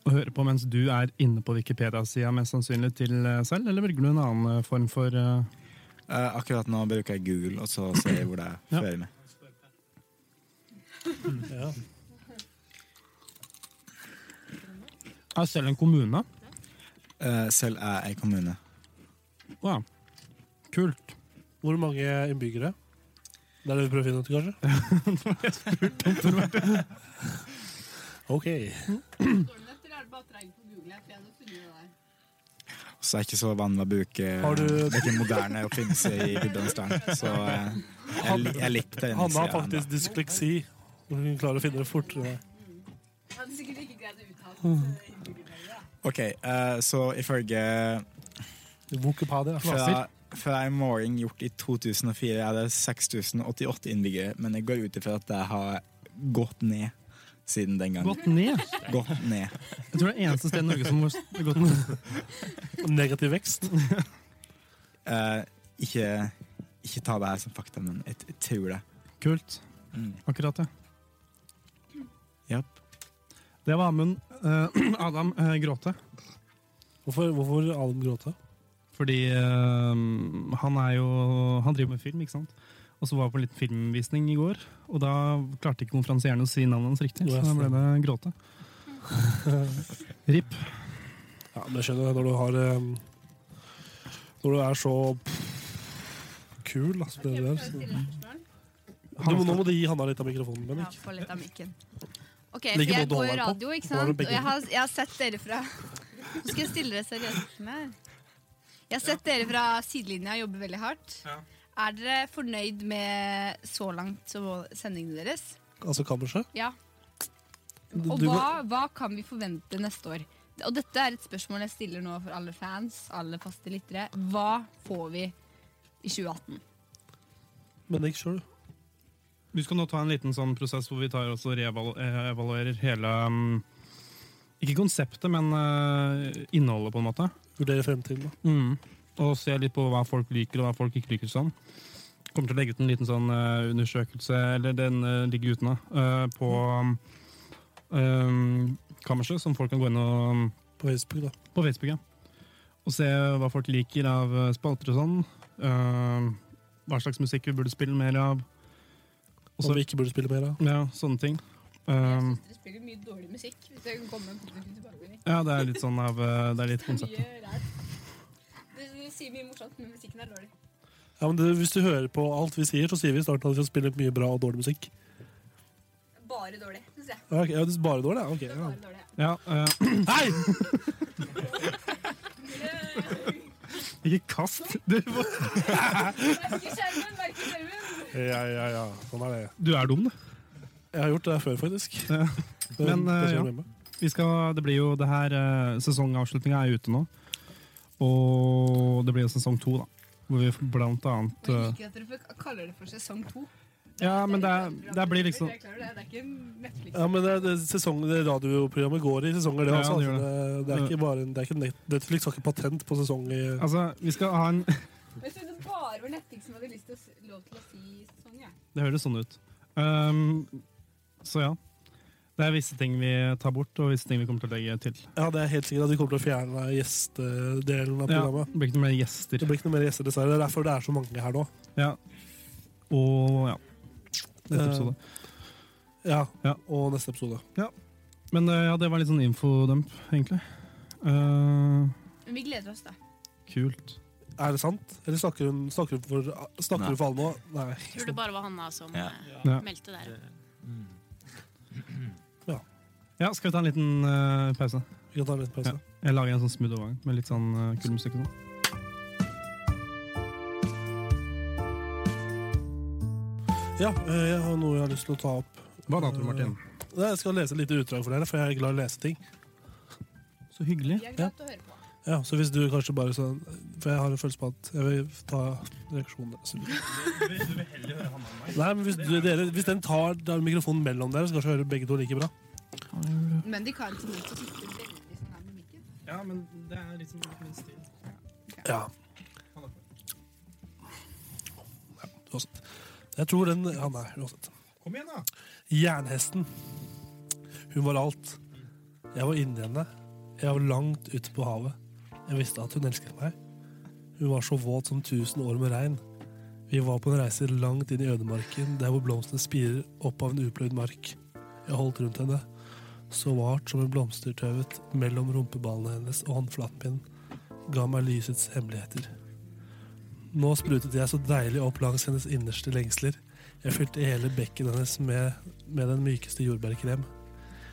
S1: Og høre på mens du er inne på Wikipedia-sida mest sannsynlig til eh, selv, eller velger du en annen eh, form for eh,
S12: Eh, Akkurat nå bruker jeg Google, og så ser jeg hvor det
S1: Ja.
S12: fører meg.
S3: Ja.
S1: Er selv en kommune?
S12: Eh, selv er jeg kommune.
S1: Wow. Kult.
S3: Hvor mange innbyggere? Det er det vi prøver å finne ut, kanskje? ok.
S12: Så jeg er ikke så vant med å bruke
S3: Har du-
S12: hvilken moderne oppfinnelse i Gudbrandsdalen. Så eh, jeg, li- jeg likte den
S3: Hanna har
S12: siden ennå.
S3: faktisk dysleksi. Hun klarer å finne eh, det fortere.
S16: Hadde sikkert ikke greid å uttale
S12: Ok, eh, så ifølge
S3: Wikipedia.
S12: fra, fra en måling gjort i 2004 er det 6088 innbyggere, men jeg går ut ifra at det har gått ned siden den gangen.
S1: Gått ned?
S12: Gått ned.
S1: Jeg tror det er eneste sted i Norge som har gått ned.
S3: Negativ vekst?
S12: Eh, ikke, ikke ta det her som fakta, men jeg, jeg tror det.
S1: Kult.
S12: Mm.
S1: Akkurat det.
S12: Japp.
S1: Det var Amund eh, Adam eh, Gråte.
S3: Hvorfor, hvorfor Adam Gråte?
S1: Fordi eh, han er jo Han driver med film, ikke sant? Og så var jeg på en liten filmvisning i går, og da klarte ikke konferansieren å si navnet hans riktig. Så da ble det Gråte. RIP.
S3: Ja, men jeg skjønner det når du har um, Når du er så kul, da, som det du er. Så. Du, må- nå må du gi Hanna litt av mikrofonen,
S16: Ja,
S3: Bennik.
S16: få litt av mikken. Ok,
S3: Legg i
S16: for jeg
S3: både
S16: går jo
S3: håndene på.
S16: radio, ikke
S3: Nå har
S16: sant?
S3: du begge
S16: Og jeg har, jeg har sett dere fra Nå skal jeg stille dere seriøst med. Jeg har sett dere fra sidelinja jobbe veldig hardt. Er dere fornøyd med så langt så sendingene deres?
S3: Altså kammerset.
S16: Ja.
S3: Du-
S16: Og
S3: du
S16: hva, hva kan vi forvente neste år? Og dette er et spørsmål jeg stiller nå for alle fans, alle faste lyttere. Hva får vi i 2018?
S3: Bennik sjøl.
S1: Vi skal nå ta en liten sånn prosess hvor vi tar også reevaluerer eh, hele mm, Ikke konseptet, men eh, innholdet, på en måte.
S3: Vurdere fremtiden, da.
S1: Mm. Og se litt på hva folk liker, og hva folk ikke liker sånn. Kommer til å legge ut en liten sånn eh, undersøkelse, eller den eh, ligger uten da, eh, på um, Kammerset, som folk kan gå inn og
S3: På Facebook, da.
S1: På Facebook, ja. Og se hva folk liker av eh, spalter og sånn. eh, hva slags musikk vi burde spille mer av. Og
S3: Om vi ikke burde spille mer av.
S1: Ja, sånne ting. Um,
S16: Dere spiller mye dårlig musikk. Hvis dere kan komme med en positiv tilbakemelding.
S1: ja, det er litt sånn av eh, Det er litt konseptet.
S16: Du sier mye morsomt, men musikken er dårlig.
S3: Ja, men det, hvis du hører på alt vi sier, så sier vi i starten at vi skal spille mye bra og dårlig musikk.
S16: Bare dårlig, syns jeg.
S3: Ja, ok, ja, det er bare dårlig, ja. ok, ja.
S1: Ja, eh, Ikke kast! Du,
S16: Merke skjermen, merke skjermen!
S3: ja, ja, ja. Sånn er det.
S1: du er dum, du.
S3: Jeg har gjort det før, faktisk. Det er
S1: Men eh,
S3: det som er
S1: ja,
S3: problemet.
S1: vi skal, det blir jo det her eh, Sesongavslutninga er jo ute nå. Og det blir jo sesong to, da. Hvor vi blant annet eh,
S16: Ikke at dere får- kaller det for sesong to.
S1: Ja, men det, er- det blir liksom
S16: Jeg klarer det, det er ikke en Netflix.
S3: Ja, men det, det, sesong, det radioprogrammet går i sesonger, det.
S1: Ja,
S3: Altså.
S1: det
S3: Det,
S1: gjør
S3: det,
S1: det.
S3: er ikke bare en, det er ikke nett, Netflix har ikke patent på sesong i
S1: Altså, vi skal ha en
S16: Men hvis du bare var vel neppe som hadde lyst til å, s- lov til å si sånn, ja.
S1: Det høres sånn ut. Ehm, så ja. Det er visse ting vi tar bort, og visse ting vi kommer til å legge til.
S3: Ja, det er helt sikkert at vi kommer til å fjerne gjestedelen av
S1: Ja,
S3: programmet.
S1: det blir ikke noe mer gjester.
S3: Det blir ikke noe mer gjester, dessverre. Det er derfor det er så mange her nå.
S1: Ja. Og ja. Neste
S3: Eh,
S1: episode.
S3: Ja, og neste episode.
S1: Ja. Men eh, ja, det var litt sånn infodump, egentlig. Eh,
S16: Men vi gleder oss, da.
S1: kult.
S3: Er det sant? Eller snakker hun, snakker hun for, snakker hun for alle nå? Nei.
S13: Tror det bare var Hanna som
S3: Ja.
S13: eh,
S1: Ja.
S13: meldte der.
S1: Ja, skal vi ta en liten eh, pause?
S3: Vi kan ta en liten pause.
S1: Ja. Jeg lager en sånn smooth overgang med litt sånn eh, kul musikk og sånn.
S3: Ja, eh, jeg har noe jeg har lyst til å ta opp.
S1: Hva da, Tor Martin?
S3: Eh, Jeg skal lese et lite utdrag for dere, for jeg er glad i å lese ting.
S1: Så hyggelig.
S16: Jeg er
S3: Ja.
S16: glad til å høre på.
S3: Ja, så hvis du kanskje bare sånn For jeg har en følelse på at jeg vil ta reaksjonen deres. Nei, men hvis, du, dere, hvis den tar da er mikrofonen mellom dere, så kanskje hører begge to like bra.
S16: Men de kan ikke minst å sitte veldig sånn her med mikken.
S1: Ja, men det er liksom min stil.
S3: Ja. ja uansett. Jeg tror den Ja, nei, uansett.
S10: Kom igjen, da!
S3: Jernhesten. Hun var alt. Jeg var inni henne. Jeg var langt ute på havet. Jeg visste at hun elsket meg. Hun var så våt som tusen år med regn. Vi var på en reise langt inn i ødemarken, der hvor blomstene spirer opp av en upløyd mark. Jeg holdt rundt henne, så vart som en blomstertauet mellom rumpeballene hennes og håndflaten min, ga meg lysets hemmeligheter. Nå sprutet jeg så deilig opp langs hennes innerste lengsler. Jeg fylte hele bekken hennes med, med den mykeste jordbærkrem.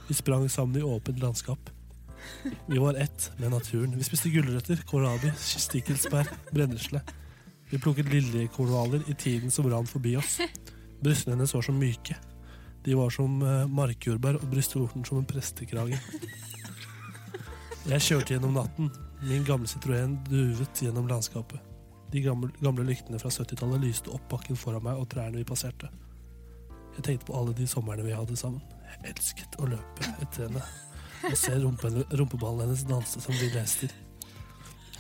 S3: Vi sprang sammen i åpent landskap. Vi var ett med naturen. Vi spiste gulrøtter, kålrabi, stikkelsbær, brennesle. Vi plukket liljekornvaler i tiden som rant forbi oss. Brystene hennes var så myke. De var som eh, markjordbær og brystvorten som en prestekrage. Jeg kjørte gjennom natten. Min gamle Citroën duvet gjennom landskapet. De gamle, gamle lyktene fra 70-tallet lyste opp bakken foran meg og trærne vi passerte. Jeg tenkte på alle de somrene vi hadde sammen. Jeg elsket å løpe etter henne og se rumpen, rumpeballen hennes danse som ville hester.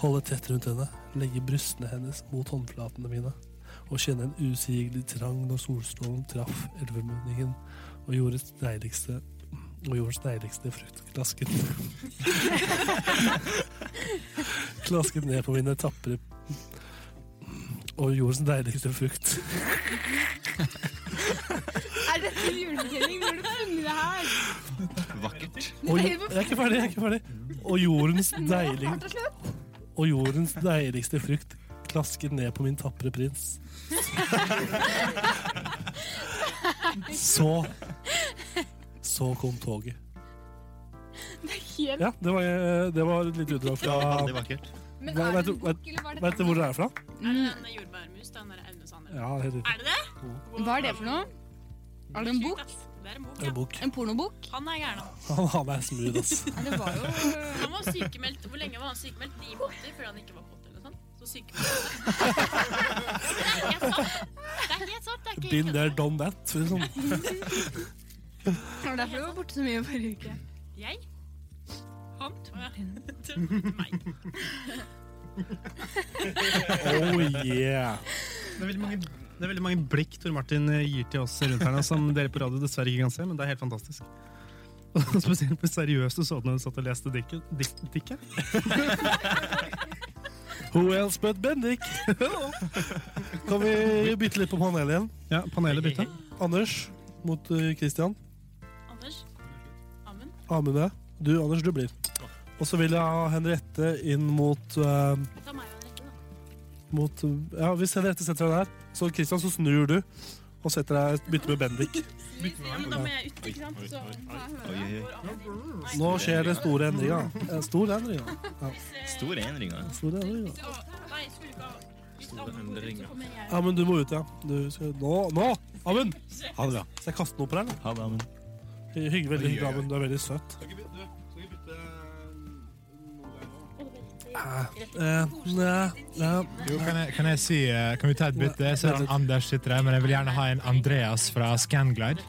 S3: Holde tett rundt henne, legge brystene hennes mot håndflatene mine og kjenne en usigelig trang når solstrålen traff elvemunningen og gjorde sitt deiligste og jordens deiligste fruktklasker. Klasket ned på mine tapre og jordens deiligste frukt.
S16: Er dette en julefortelling? Hvor har du funnet det her?
S14: Vakkert.
S3: Og, jo- jeg er ikke ferdig, jeg er ikke ferdig.
S16: Mm.
S3: Og jordens deilig
S16: Snart er slutt.
S3: og jordens deiligste frukt klasket ned på min tapre prins. Så Så kom toget.
S16: Det er helt
S3: Ja, det var, eh, det var et lite utdrag fra
S14: Det var veldig vakkert.
S16: Men
S3: Hva-
S16: er
S3: vet
S16: det
S3: du-
S16: en
S3: vet-
S16: bok, eller var det
S3: Vet du hvor det er fra?
S13: Er
S16: Mm.
S13: det den med jordbærmus? Den der Aune Sander?
S3: Ja, helt riktig.
S13: Er det det?
S16: Hva er det for noe? Er det en bok?
S13: Det er en bok,
S3: En bok.
S16: En pornobok?
S13: Han er gæren, han.
S3: Han, han er smooth, ass.
S16: det var jo
S13: Han var sykemeldt, Hvor lenge var han sykemeldt? Ni måneder før han ikke var kåt eller noe sånt. Så sykemeldt. han. Ja, men Det er ikke helt sant. Det er ikke
S3: Been
S13: helt sant.
S3: there, done that. for å si det Sånn.
S16: Det var derfor du var borte så mye forrige uke.
S13: Jeg? Han? Å, ja. Meg.
S3: Oh yeah.
S1: Det er veldig mange, det er veldig mange blikk Tor Martin eh, gir til oss rundt her nå, som dere på radio dessverre ikke kan se, men det er helt fantastisk. Og Spesielt hvor seriøst du så det når du satt og leste dikket. Dikt, dikket.
S3: Who else but Bendik? Kan vi bytte litt på panelet igjen?
S1: Ja, panelet bytte.
S3: Anders mot eh, Christian.
S13: Anders? Amund?
S3: Amund, du Anders, du blir. Og så vil jeg ha Henriette inn mot eh,
S13: Ta meg og en rekke, da.
S3: mot Ja, hvis Henriette setter deg der, så Christian, så snur du og setter deg bytter med Bendik.
S13: Ja, men da må jeg ut, ikke sant? Så
S14: Oi, oi, oi.
S3: Nå skjer det store endringer. Eh, Store endringer. Ja.
S14: Store endringer.
S3: Store endringer.
S13: Å, Nei, skulle ikke ha Hvis
S14: Store
S13: Amund går ut,
S14: endringer.
S13: så kommer jeg.
S3: Amund, du må ut, ja. Du skal, nå! nå! Amund!
S14: Ha det bra.
S3: Skal jeg kaste noe på deg? eller?
S14: Ha det, Amund.
S3: Hyggelig,
S14: Oi,
S3: veldig
S14: oi,
S3: hyggelig,
S14: oi.
S3: Amund. Du er veldig søt.
S10: Eh,
S3: nei, nei.
S10: Jo, kan jeg, kan jeg si eh, Kan vi ta et bytte? Jeg ser at Anders sitter her, men jeg vil gjerne ha en Andreas fra Scanglide.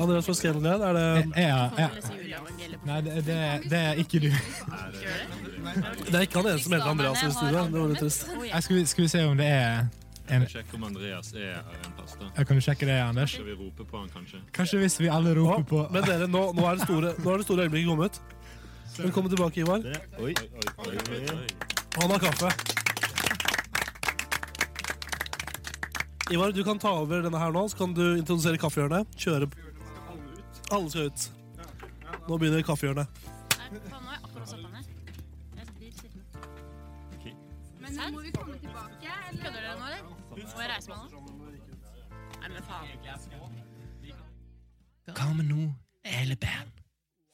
S3: Andreas fra Scanland, er det
S10: Eh, ja, ja. Nei, det, det, det er ikke du.
S3: Det er ikke han ene som heter Andreas i studio. Det var litt trist.
S10: Nei, skal, vi, skal vi se om det er En-
S15: Skal vi sjekke om Andreas er her en plass, da?
S10: Ja, kan du sjekke det, Anders?
S15: Skal vi rope på han, kanskje?
S10: Kanskje hvis vi alle roper på
S3: Men dere, nå, nå, er det store, nå er det store øyeblikket kommet. Velkommen tilbake, Ivar.
S14: Oi.
S3: Han har kaffe. Ivar, du kan ta over denne her nå, så kan du introdusere kaffehjørnet. Kjøre Alle skal ut. Nå begynner kaffehjørnet.
S13: Nei, faen, nå har jeg akkurat satt den ned. Jeg blir sittende.
S16: Men nå må vi komme tilbake, eller?
S13: Kødder dere nå, eller? Må jeg reise meg nå? Nei, men faen.
S17: Hva med nå, hele band?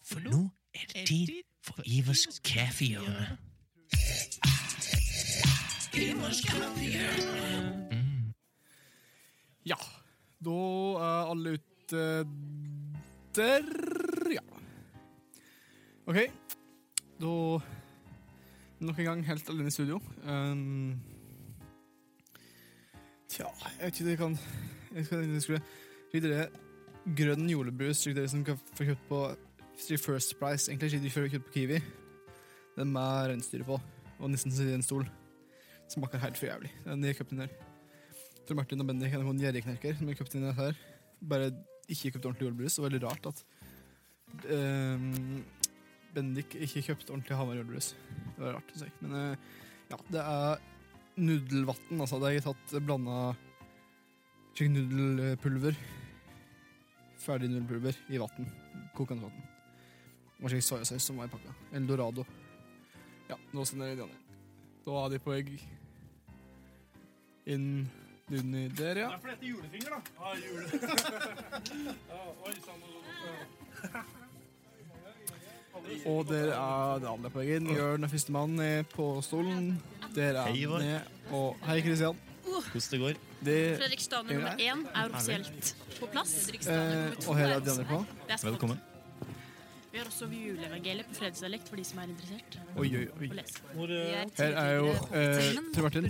S17: For nå er det tid for Ivers kaffehjørne. Ivers kaffehjørne.
S2: Ja. Da er alle ute der, ja. OK. Da Nok en gang helt alene i studio. Ehm, tja, jeg vet ikke det kan Jeg skal jeg skulle videre grønn julebrus, slik dere som kan få kjøpt på slik First Price. Egentlig slik du får kjøpt på Kiwi. Den med reinsdyret på, og nissen sitter i en stol. Smaker helt for jævlig. Den de kjøpte inn der. Tror Martin og Bendik hadde en gjerrigknerker som de kjøpte inn her. Bare ikke kjøpte ordentlig julebrus. Det var veldig rart at ehm, Bendik ikke kjøpte ordentlig Hamar julebrus. Det var rart å si. Men eh, ja, det er nudelvann. Altså, det er tatt blanda slik nudelpulver. Ferdig nudelpulver i vann. Kokende vann. Og slik soyasaus som var i pakka. Eldorado. Ja, nå sender jeg de andre. Da er de på egg inn nudene der, ja.
S1: fordi det er julefinger, da. Ah, jule. oi,
S2: Og der er Daniel på veggen. Jørn er førstemann ned på stolen. Der er
S14: Hei,
S2: han
S14: Ivar.
S2: ned. Og hei, Kristian.
S14: Hvordan det går?
S2: Det,
S13: Fredrikstad nummer én er offisielt på plass.
S2: eh, og her er de andre på.
S13: Det er spennende.
S14: Velkommen.
S13: Vi har også juleevangeliet på fredsdialekt for de som er interessert.
S2: Oi, oi, oi.
S13: Å lese.
S3: Hvor, eh,
S2: Her er jo eh, Tor Martin.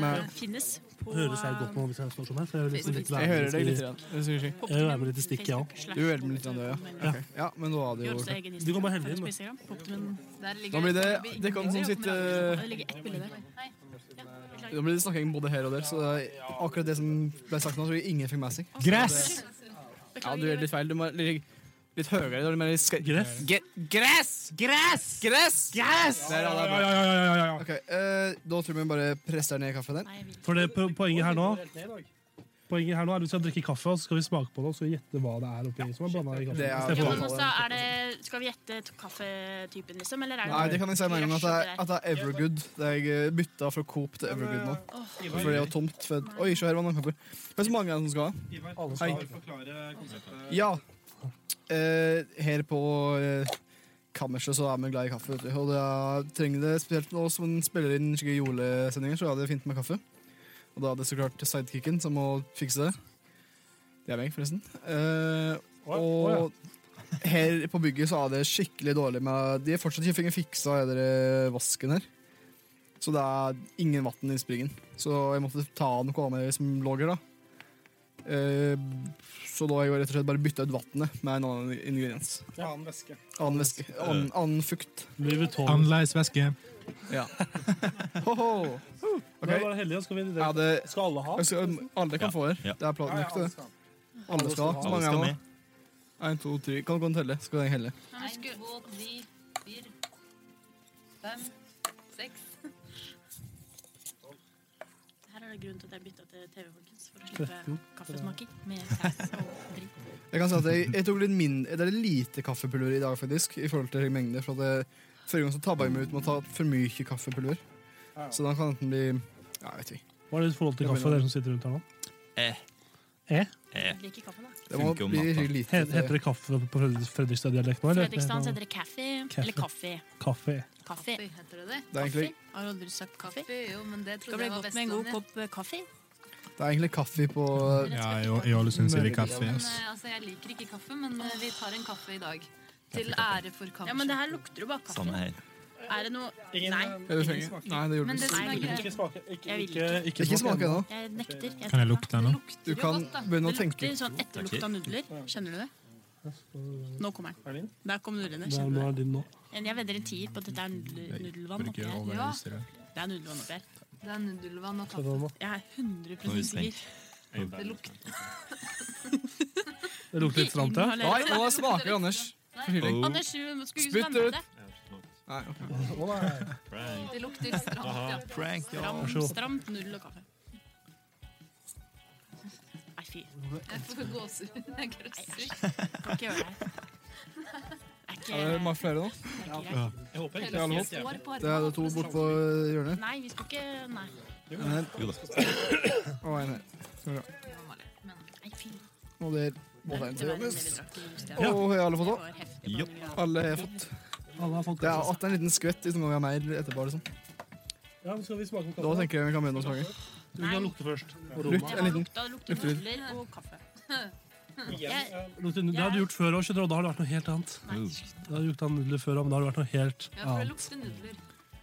S2: med-
S13: finnes på eh,
S3: Høres jeg godt nå hvis jeg står som her? For jeg, vil liksom litt
S2: Jeg hører deg litt.
S3: være
S2: Igjen.
S3: med
S2: Jeg
S3: i- Jeg vil være med litt i stikket, jeg
S2: Du hører meg litt, igjen, du, ja. Ok. ja. Men nå er det
S13: Vi har
S2: jo
S13: også egen
S3: Du kan bare helle
S13: Instagram,
S3: inn, da.
S13: Instagram, Poptimum.
S2: Nå blir det Det kan liksom som
S13: Ja,
S2: sitter
S13: Det ligger ett bilde der. Nei. Ja,
S2: Nå blir det snakking både her og der, så det er akkurat det som ble sagt nå, tror jeg ingen fikk med seg.
S13: Gress!
S2: Ja, du gjør litt feil. Du må ligge litt høyere. Du må ligge
S3: gress.
S2: gress! Gress! Gress! Gress! Der, ja, det er bra.
S3: Ja, ja, ja, ja, ja, ja.
S2: Ok, eh, Da tror jeg vi bare presser ned kaffen der.
S3: For det po- poenget her nå Poenget her nå er at Vi skal drikke kaffe, og så skal vi smake på det og så gjette hva det er oppi som er blanda i
S2: Det
S3: kaffen. I
S2: er-
S13: Ja,
S3: stedet for-
S13: men altså, også er det, skal vi gjette t- kaffetypen, liksom? Eller er det
S2: Nei, det kan jeg si med en gang at det er,
S13: Rush
S2: at det er Evergood. Det er jeg bytta fra Coop til Evergood nå. For det var tomt. For, oi, se her var det noen kopper. Hvor mange er det som skal ha?
S1: Alle
S2: skal
S1: skal forklare konseptet.
S2: Ja. Eh, her på eh, kammerset så er vi glad i kaffe. Vet du. Og det er, trenger det spesielt nå som en spiller inn slike julesendinger, så er det fint med kaffe. Og da er det så klart sidekicken som må fikse det. Det er meg, forresten. Eh, og her på bygget så er det skikkelig dårlig med De har fortsatt ikke fått fiksa er dere vasken her. Så det er ingen vann i springen. Så jeg måtte ta noe annet som lå her, da. Eh, så da har jeg rett og slett bare bytta ut vannet med en annen ingrediens.
S1: Annen væske.
S2: Annen væske.
S3: Eh.
S2: Annen, annen fukt.
S10: Annerledes væske.
S2: Ja. Ho-ho!
S3: Nå er det bare heldige, skal, vi
S2: Ja, det,
S3: skal alle ha?
S2: jeg skal, alle kan få her.
S3: Ja.
S2: Det er planen
S3: Ja, ja, alle
S2: ikke det. Alle skal ha. Så
S3: Alle
S2: mange
S3: skal
S2: er
S3: med.
S2: det? Én, to, tre. Kan du gå og telle? Skal jeg helle?
S18: En, to, tre, fire, fem, seks.
S13: Her er det grunnen til at jeg bytta til TV, folkens. For å slippe kaffesmaking med saus og dritt.
S2: Jeg kan si at jeg, jeg tok litt mindre Det er lite kaffepulver i dag, faktisk, i forhold til mengde. For at det, Forrige gang så tabba jeg meg ut med å ta for mye kaffepulver. Så da kan det enten bli Ja, jeg vet ikke.
S3: Hva er ditt forhold til
S2: Jeg
S3: kaffe,
S2: begynner.
S3: dere som sitter rundt her nå?
S14: Eh.
S3: Eh?
S14: Eh.
S2: Det må
S14: Funker om
S2: bli
S14: natta.
S2: skikkelig lite.
S3: He- Heter det kaffe på Fredrik- Fredrikstad-dialekt nå? eller?
S13: Fredrikstad heter det kaffe. Eller kaffe.
S3: Kaffe.
S13: Kaffe.
S18: Heter det det?
S2: Det er egentlig,
S18: Har aldri sagt kaffe. Jo, men det
S13: Skal
S18: trodde
S13: bli
S18: jeg var
S13: godt med en god
S18: Vestlandet.
S13: kopp eh, kaffe.
S2: det er egentlig kaffe på
S10: Ja, i- i Ålesund sier vi kaffe,
S18: Men,
S10: ass.
S18: eh, altså, jeg liker ikke kaffe, men eh, vi tar en kaffe i dag. Til ære for kaffe.
S13: Ja, men det her lukter jo bare kaffe.
S14: Samme her.
S13: Er det noe Nei.
S2: Er det fenger? Nei, det gjorde
S18: Men det
S2: det
S18: som er
S2: ikke.
S18: greit-
S3: Ikke smake.
S13: Jeg
S3: Ikke,
S13: vil
S3: ikke,
S13: ikke.
S2: eh, Ikke smake ennå.
S13: Jeg nekter. Jeg
S10: Kan jeg
S13: tar-
S10: lukte den nå?
S2: Du kan begynne å
S13: Det
S2: tenke.
S13: lukter sånn etterlukt av nudler. Skjønner du det? Nå kommer den. Der kom nudlene.
S3: Det er
S13: Skjønner du det?
S3: nå er din nå.
S13: Men Jeg vedder en tier på at dette er nudel, nudelvann oppi her.
S3: overanalyse
S13: Det er nudelvann oppi her.
S9: Det er nudelvann og
S3: Hva da,
S9: kaffe.
S3: Anna?
S13: Jeg er 100 sikker. Det lukter
S3: Det lukter litt stramt, ja.
S19: Nei, nå smaker det, Anders. Forkylling.
S13: sånn Nei, Anders, du skulle ikke
S19: Spytt
S13: svømme
S19: ut.
S13: det.
S19: Nei, ok.
S13: Det lukter stramt, ja.
S19: Prank, ja.
S13: Stram,
S19: Vær så god.
S13: stramt nudel og kaffe. Nei, fy.
S9: Jeg får gåsehud. Jeg grøsser.
S13: Kan ikke gjøre det. Er ikke-
S19: Er det mange flere nå?
S13: Det er
S19: Ja.
S13: ikke greit.
S19: Jeg håper ikke.
S13: Hele
S19: Alle
S13: sår
S19: håper.
S13: på armen.
S2: Det er det to bort på hjørnet.
S13: Nei, vi skal ikke Nei.
S2: Nei. Å, nei, nei. Så bra.
S13: Nei, fy.
S2: Og der må det en til, Johannes.
S13: Ja.
S2: Og har alle fått
S13: Det var
S2: òg?
S13: heftig
S2: Alle har fått. Det er alltid en liten skvett hvis noen har mer etterpå. liksom.
S3: Ja, men skal vi smake på
S2: Da tenker jeg vi kan begynne å smake.
S3: Du vil ha lukte først. og
S2: Lukt,
S3: roma.
S2: en liten
S13: Da lukter det
S2: luktelyd.
S13: nudler og kaffe.
S3: Jeg- Lukter nudler. Det har du gjort før òg, da har det vært noe helt annet. Da har du lukta nudler før, men da har det vært noe helt
S13: Ja, for det
S3: annet.
S13: lukter nudler.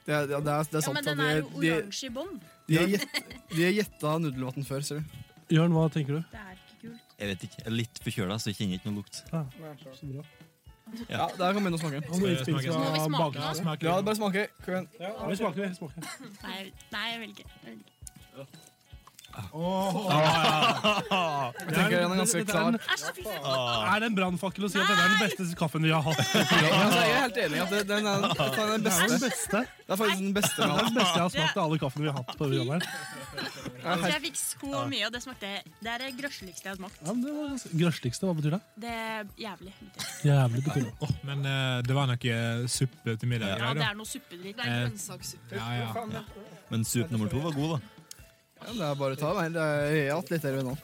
S2: Det er, det er, det er
S13: Ja,
S2: sant.
S13: men
S2: da.
S13: den
S2: De-
S13: er jo
S2: de-
S13: oransje i bånn.
S2: De har gjett- de har gjetta nudelvann før, ser du.
S3: Jørn, hva tenker du?
S13: Det er ikke kult.
S8: Jeg vet ikke. Jeg er litt forkjøla, så jeg kjenner ikke noe lukt.
S3: Så bra.
S2: Ja, der kan vi begynne å smake.
S3: Skal vi smake? Nå må vi smake, da. Smake.
S2: Ja, bare smake. Kom igjen.
S3: Ja, vi smaker, vi smaker.
S13: Nei, jeg- nei, jeg vil ikke. Jeg vil ikke.
S2: Jeg tenker den er ganske
S3: Dette en-
S13: Æsj,
S2: klar.
S13: så fy søren.
S3: Er det en brannfakkel å si at dette er den beste kaffen vi har hatt?
S2: Ja, altså, jeg er helt enig i at det- den er, den er den
S3: Det er den
S2: beste.
S3: beste.
S2: Det er faktisk den beste.
S3: Det er den beste jeg har
S13: Det-
S3: smakt av alle kaffene vi har hatt på det programmet.
S13: Så
S3: her.
S13: jeg fikk så mye, og det smakte Det er det grøsjeligste jeg har smakt.
S3: Ja, men det var ganske- Grøsligste, hva betyr det?
S13: Det er jævlig.
S3: Jævlig betyr det.
S10: Åh, men eh, det var noe suppe til middag.
S13: Ja, Eh.
S10: greier,
S13: det
S10: da.
S13: er noe suppedritt.
S10: Det er grønnsakssuppe. Ja, ja, ja.
S8: Men sup nummer to var god, da.
S2: Ja, det er bare å ta. Nei, det er, jeg har hatt litt her nå.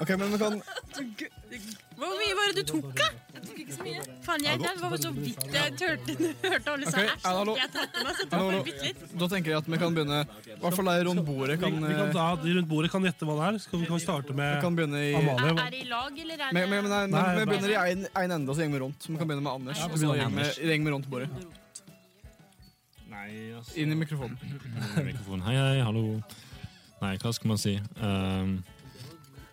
S2: Ok, men vi kan...
S13: Hvor mye var det du tok, da? Jeg tok ikke så mye. Faen, jeg, det var så vidt jeg turte. Hørte alle sa
S2: Ok,
S13: æsj.
S2: hallo.
S13: Jeg tok på meg, så det
S2: Hallo,
S13: var
S2: hallo.
S13: bare bitte litt.
S2: Da tenker jeg at vi kan begynne, i hvert fall der rundt bordet
S3: Vi,
S2: kan...
S3: vi kan ta, de rundt bordet kan gjette hva det er. Så kan vi kan starte med
S2: Vi kan begynne i-
S3: Amalie.
S13: Er det i lag, eller er det
S2: Men, men, men, nei, men,
S3: Nei,
S2: vi
S3: bare-
S2: begynner i en, en ende, og så gjenger vi rundt. Så vi kan begynne med Anders,
S3: Ja,
S2: og så
S3: begynner
S2: gjenger
S3: Anders.
S2: vi- gjenger vi rundt bordet.
S15: Nei, altså.
S2: Inn i mikrofonen.
S15: mikrofonen. Hei, hei, hallo. Nei, hva skal man si? Ehm,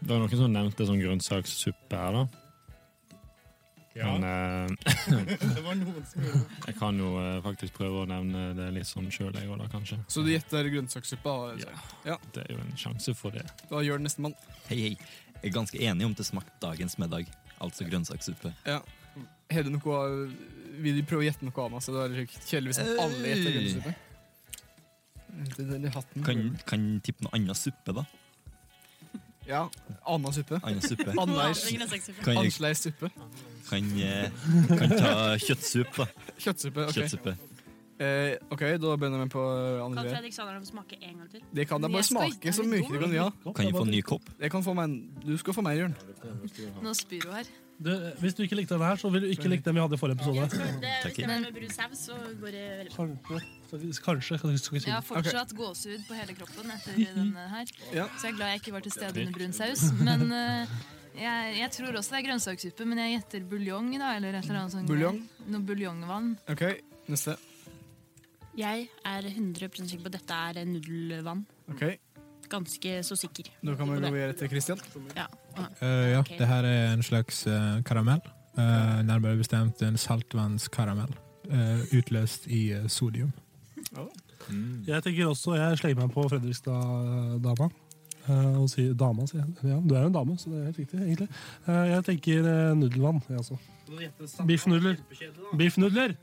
S15: det var noen som nevnte sånn grønnsakssuppe her, da.
S10: Ja.
S15: Men eh,
S10: Det var noen som gjorde det.
S15: jeg kan jo eh, faktisk prøve å nevne det litt sånn sjøl, jeg òg, da, kanskje.
S2: Så du gjetter grønnsakssuppe? da, altså. Ja.
S15: Det er jo en sjanse for det.
S2: Da gjør det neste mann.
S8: Hei, hei. Jeg er ganske enig om det smakte dagens middag. Altså grønnsakssuppe.
S2: Ja. Har du noe av... Vil du prøve å gjette noe annet, så det er litt kjedelig hvis alle gjetter grønnsakssuppe? Det er i hatten.
S8: Kan, kan tippe noe annen suppe, da?
S2: Ja, anna suppe.
S8: Annen suppe.
S2: Anleis-
S8: Anna grønnsakssuppe. Kan jeg-
S2: Ansleis suppe.
S8: Kan, eh, kan ta kjøttsuppe, da.
S2: Kjøttsuppe, ok.
S8: Kjøttsuppe.
S2: Eh, ok, da begynner vi på
S13: Kan
S2: andre.
S13: Fredrik Sandra få smake en gang til?
S2: Det kan da bare
S13: Jeg skal
S2: smake
S13: ikke-
S2: så mye du kan gjøre.
S8: Kan jeg få en ny kopp?
S2: Jeg kan få meg en, du skal få meg, Jørn.
S9: Nå spyr hun her.
S3: Du, hvis du ikke likte den her, så vil du ikke like den vi hadde i forrige episode.
S13: Det
S3: Takk.
S13: stemmer med brun saus, så går det veldig bra.
S3: Kanskje. Kanskje. Kan du ikke
S9: Jeg har
S3: si det?
S9: fortsatt gåsehud på hele kroppen etter denne her.
S3: Ja.
S9: Så jeg er glad jeg ikke var til stede under brun saus. Men eh, jeg, jeg tror også det er grønnsakssuppe, men jeg gjetter buljong. da, eller et eller annet sånt.
S2: Buljong?
S9: greier. Noe buljongvann.
S2: Ok, neste.
S13: Jeg er 100 sikker på at dette er nudelvann.
S2: Ok,
S13: Ganske så sikker.
S2: Nå kan vi gå videre til Christian.
S13: Ja.
S10: Eh, ja,
S13: Ok.
S10: det her er en slags eh, karamell. Eh, nærmere bestemt en saltvannskaramell. eh, utløst i eh, sodium.
S3: Jeg tenker også, jeg slenger meg på Fredrikstad-dama. eh, og sier dama, sier jeg. Ja, du er jo en dame, så det er helt riktig, egentlig. Eh, jeg tenker eh, nudelvann, jeg også. Biffnudler. Biffnudler!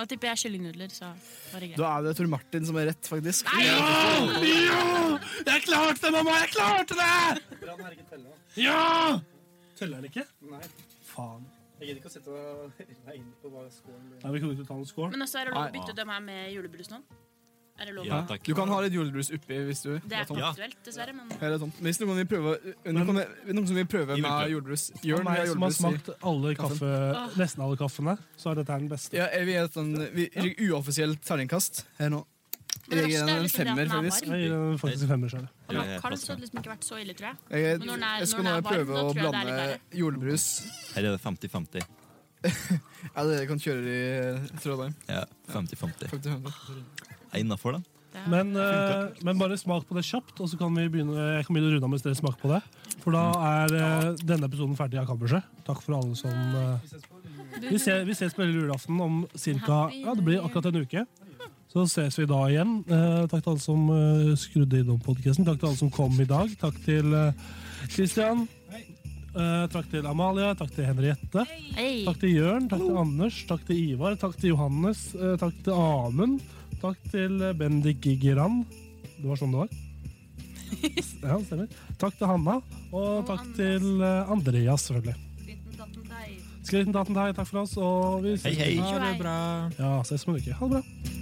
S13: Da tipper jeg kyllingnudler, så var det greit.
S2: Da er det Tor Martin som er rett, faktisk.
S3: Jeg klarte det, mamma! Jeg klarte det! Ja! Teller den ikke?
S1: Nei.
S3: Faen.
S1: Jeg gidder ikke å sette meg inn på hva skålen blir.
S3: Nei, vi kan ikke ta en skål.
S13: Men også er det lov å
S2: Nei.
S13: bytte ut dem her med julebrus nå? Er det lov?
S2: Ja, Du kan ha litt julebrus oppi hvis du
S13: Det er ikke aktuelt, dessverre, men
S2: Her er det tomt. Hvis noen vil prøve, noen kan- noen som vil prøve med julebrus
S3: For
S2: Jørn vil ha
S3: meg som har
S2: julebrus i
S3: smakt alle
S2: kaffen.
S3: kaffe, nesten alle kaffene, så er dette her den beste.
S2: Ja, jeg vil gi et sånn vi- uoffisielt terningkast her nå. Jeg gir den en femmer, faktisk.
S3: Jeg gir den faktisk en femmer selv.
S13: Han har Karls hadde liksom ikke vært så ille, tror jeg.
S2: Jeg,
S13: Men når den er-
S2: jeg skal
S13: når
S2: nå
S13: den er varm, da
S2: prøve å
S13: tror jeg det er litt
S2: blande
S13: verre.
S2: julebrus
S8: Her er det 50-50.
S2: Ja, dere kan kjøre i Trondheim.
S8: Ja, 50-50.
S2: 50-50.
S8: Er innafor, da?
S3: Men, eh, men bare smak på det kjapt, og så kan vi begynne, jeg kan begynne å runde av mens dere smaker på det. For da er eh, denne episoden ferdig av Kammerset. Takk for alle som eh, vi, ses, vi ses på lille julaften om cirka, ja, det blir akkurat en uke. Så ses vi da igjen. Eh, takk til alle som eh, skrudde innom podkasten. Takk til alle som kom i dag. Takk til eh, Christian. Eh, takk til Amalie. Takk til Henriette.
S17: Hei.
S3: Takk til Jørn. Takk til Anders. Takk til Ivar. Takk til Johannes. Eh, takk til Amund. Takk til eh, Bendik Gigeran. Det var sånn det var? Ja, det stemmer. Takk til Hanna. Og takk til eh, Andreas, selvfølgelig. Skritten datten deg, takk for oss, og vi ses.
S17: Hei, hei.
S3: Ha det bra. Ja, ses om en uke. Ha det bra.